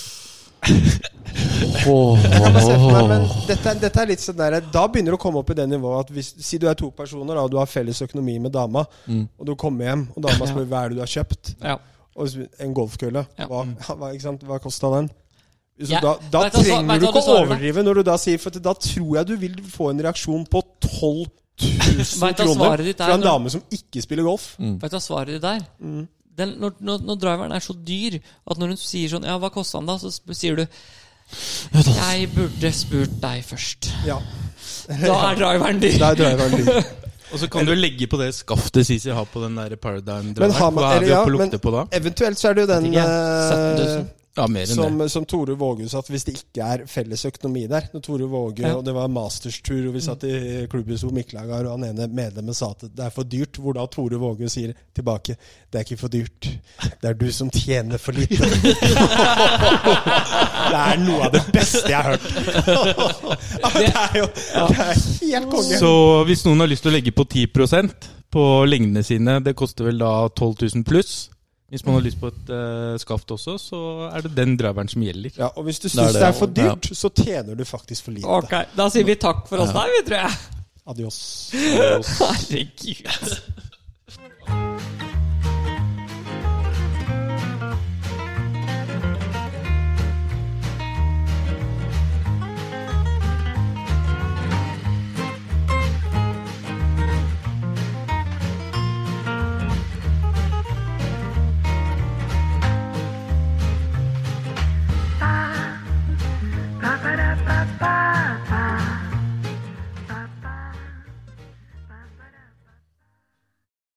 Speaker 3: Jeg kan bare se for meg, men
Speaker 4: Åh.
Speaker 3: dette, er- dette er litt sånn der, Da begynner du å komme opp i det nivået at hvis, si du er to personer da, og du har felles økonomi med dama,
Speaker 4: Mm.
Speaker 3: og du kommer hjem, og dama spør hva er det du har kjøpt,
Speaker 1: Ja.
Speaker 3: og så- en golfkølle,
Speaker 1: Ja.
Speaker 3: hva, hva, ikke sant? hva kosta den? Så
Speaker 1: Ja,
Speaker 3: da da
Speaker 1: vet du hva-
Speaker 3: trenger
Speaker 1: vet
Speaker 3: du
Speaker 1: du hva
Speaker 3: ikke
Speaker 1: du
Speaker 3: å
Speaker 1: svarer meg?
Speaker 3: overdrive når du da sier For da tror jeg du vil få en reaksjon på 12 000
Speaker 1: Vet du hva
Speaker 3: kroner
Speaker 1: svaret ditt er
Speaker 3: fra en
Speaker 1: når-
Speaker 3: dame som ikke spiller golf.
Speaker 1: Vet du hva svaret ditt er? Den, når, når, når driveren er så dyr at når hun sier sånn Ja, hva kosta han da? Så sp- sier du Jeg burde spurt deg først.
Speaker 3: Ja,
Speaker 1: Da er driveren dyr.
Speaker 3: det er driveren din.
Speaker 2: Og så kan du legge på det skaftet Sisi har på den der Paradigm
Speaker 3: Men har
Speaker 2: Drive.
Speaker 3: man-
Speaker 2: Hva er vi
Speaker 3: eller ja,
Speaker 2: oppe og
Speaker 3: men-
Speaker 2: lukter på da?
Speaker 3: Eventuelt så er det jo den
Speaker 1: Jeg vet ikke, 17 000.
Speaker 3: eh,
Speaker 2: Ja, mer enn det.
Speaker 3: som, som Tore Våge satt, hvis det ikke er felles økonomi der. Når Tore Våge
Speaker 1: Ja.
Speaker 3: og det var masterstur, og vi satt i klubbhuset hvor Miklagard og han ene medlemmet sa at det er for dyrt, hvor da Tore Våge sier tilbake det er ikke for dyrt, det er du som tjener for lite. det er noe av det beste jeg har hørt. Ja, det er jo det er helt konge.
Speaker 2: Så hvis noen har lyst til å legge på 10 på lengdene sine, det koster vel da 12 000 pluss. Hvis man har lyst på et eh, skaft også, så er det den driveren som gjelder.
Speaker 3: Ja, og hvis du
Speaker 4: er
Speaker 3: syns det,
Speaker 4: det.
Speaker 3: er for dyrt, så tjener du faktisk for lite.
Speaker 1: Ok, Da sier vi takk for oss der, vi, tror jeg.
Speaker 3: Adios.
Speaker 1: Herregud.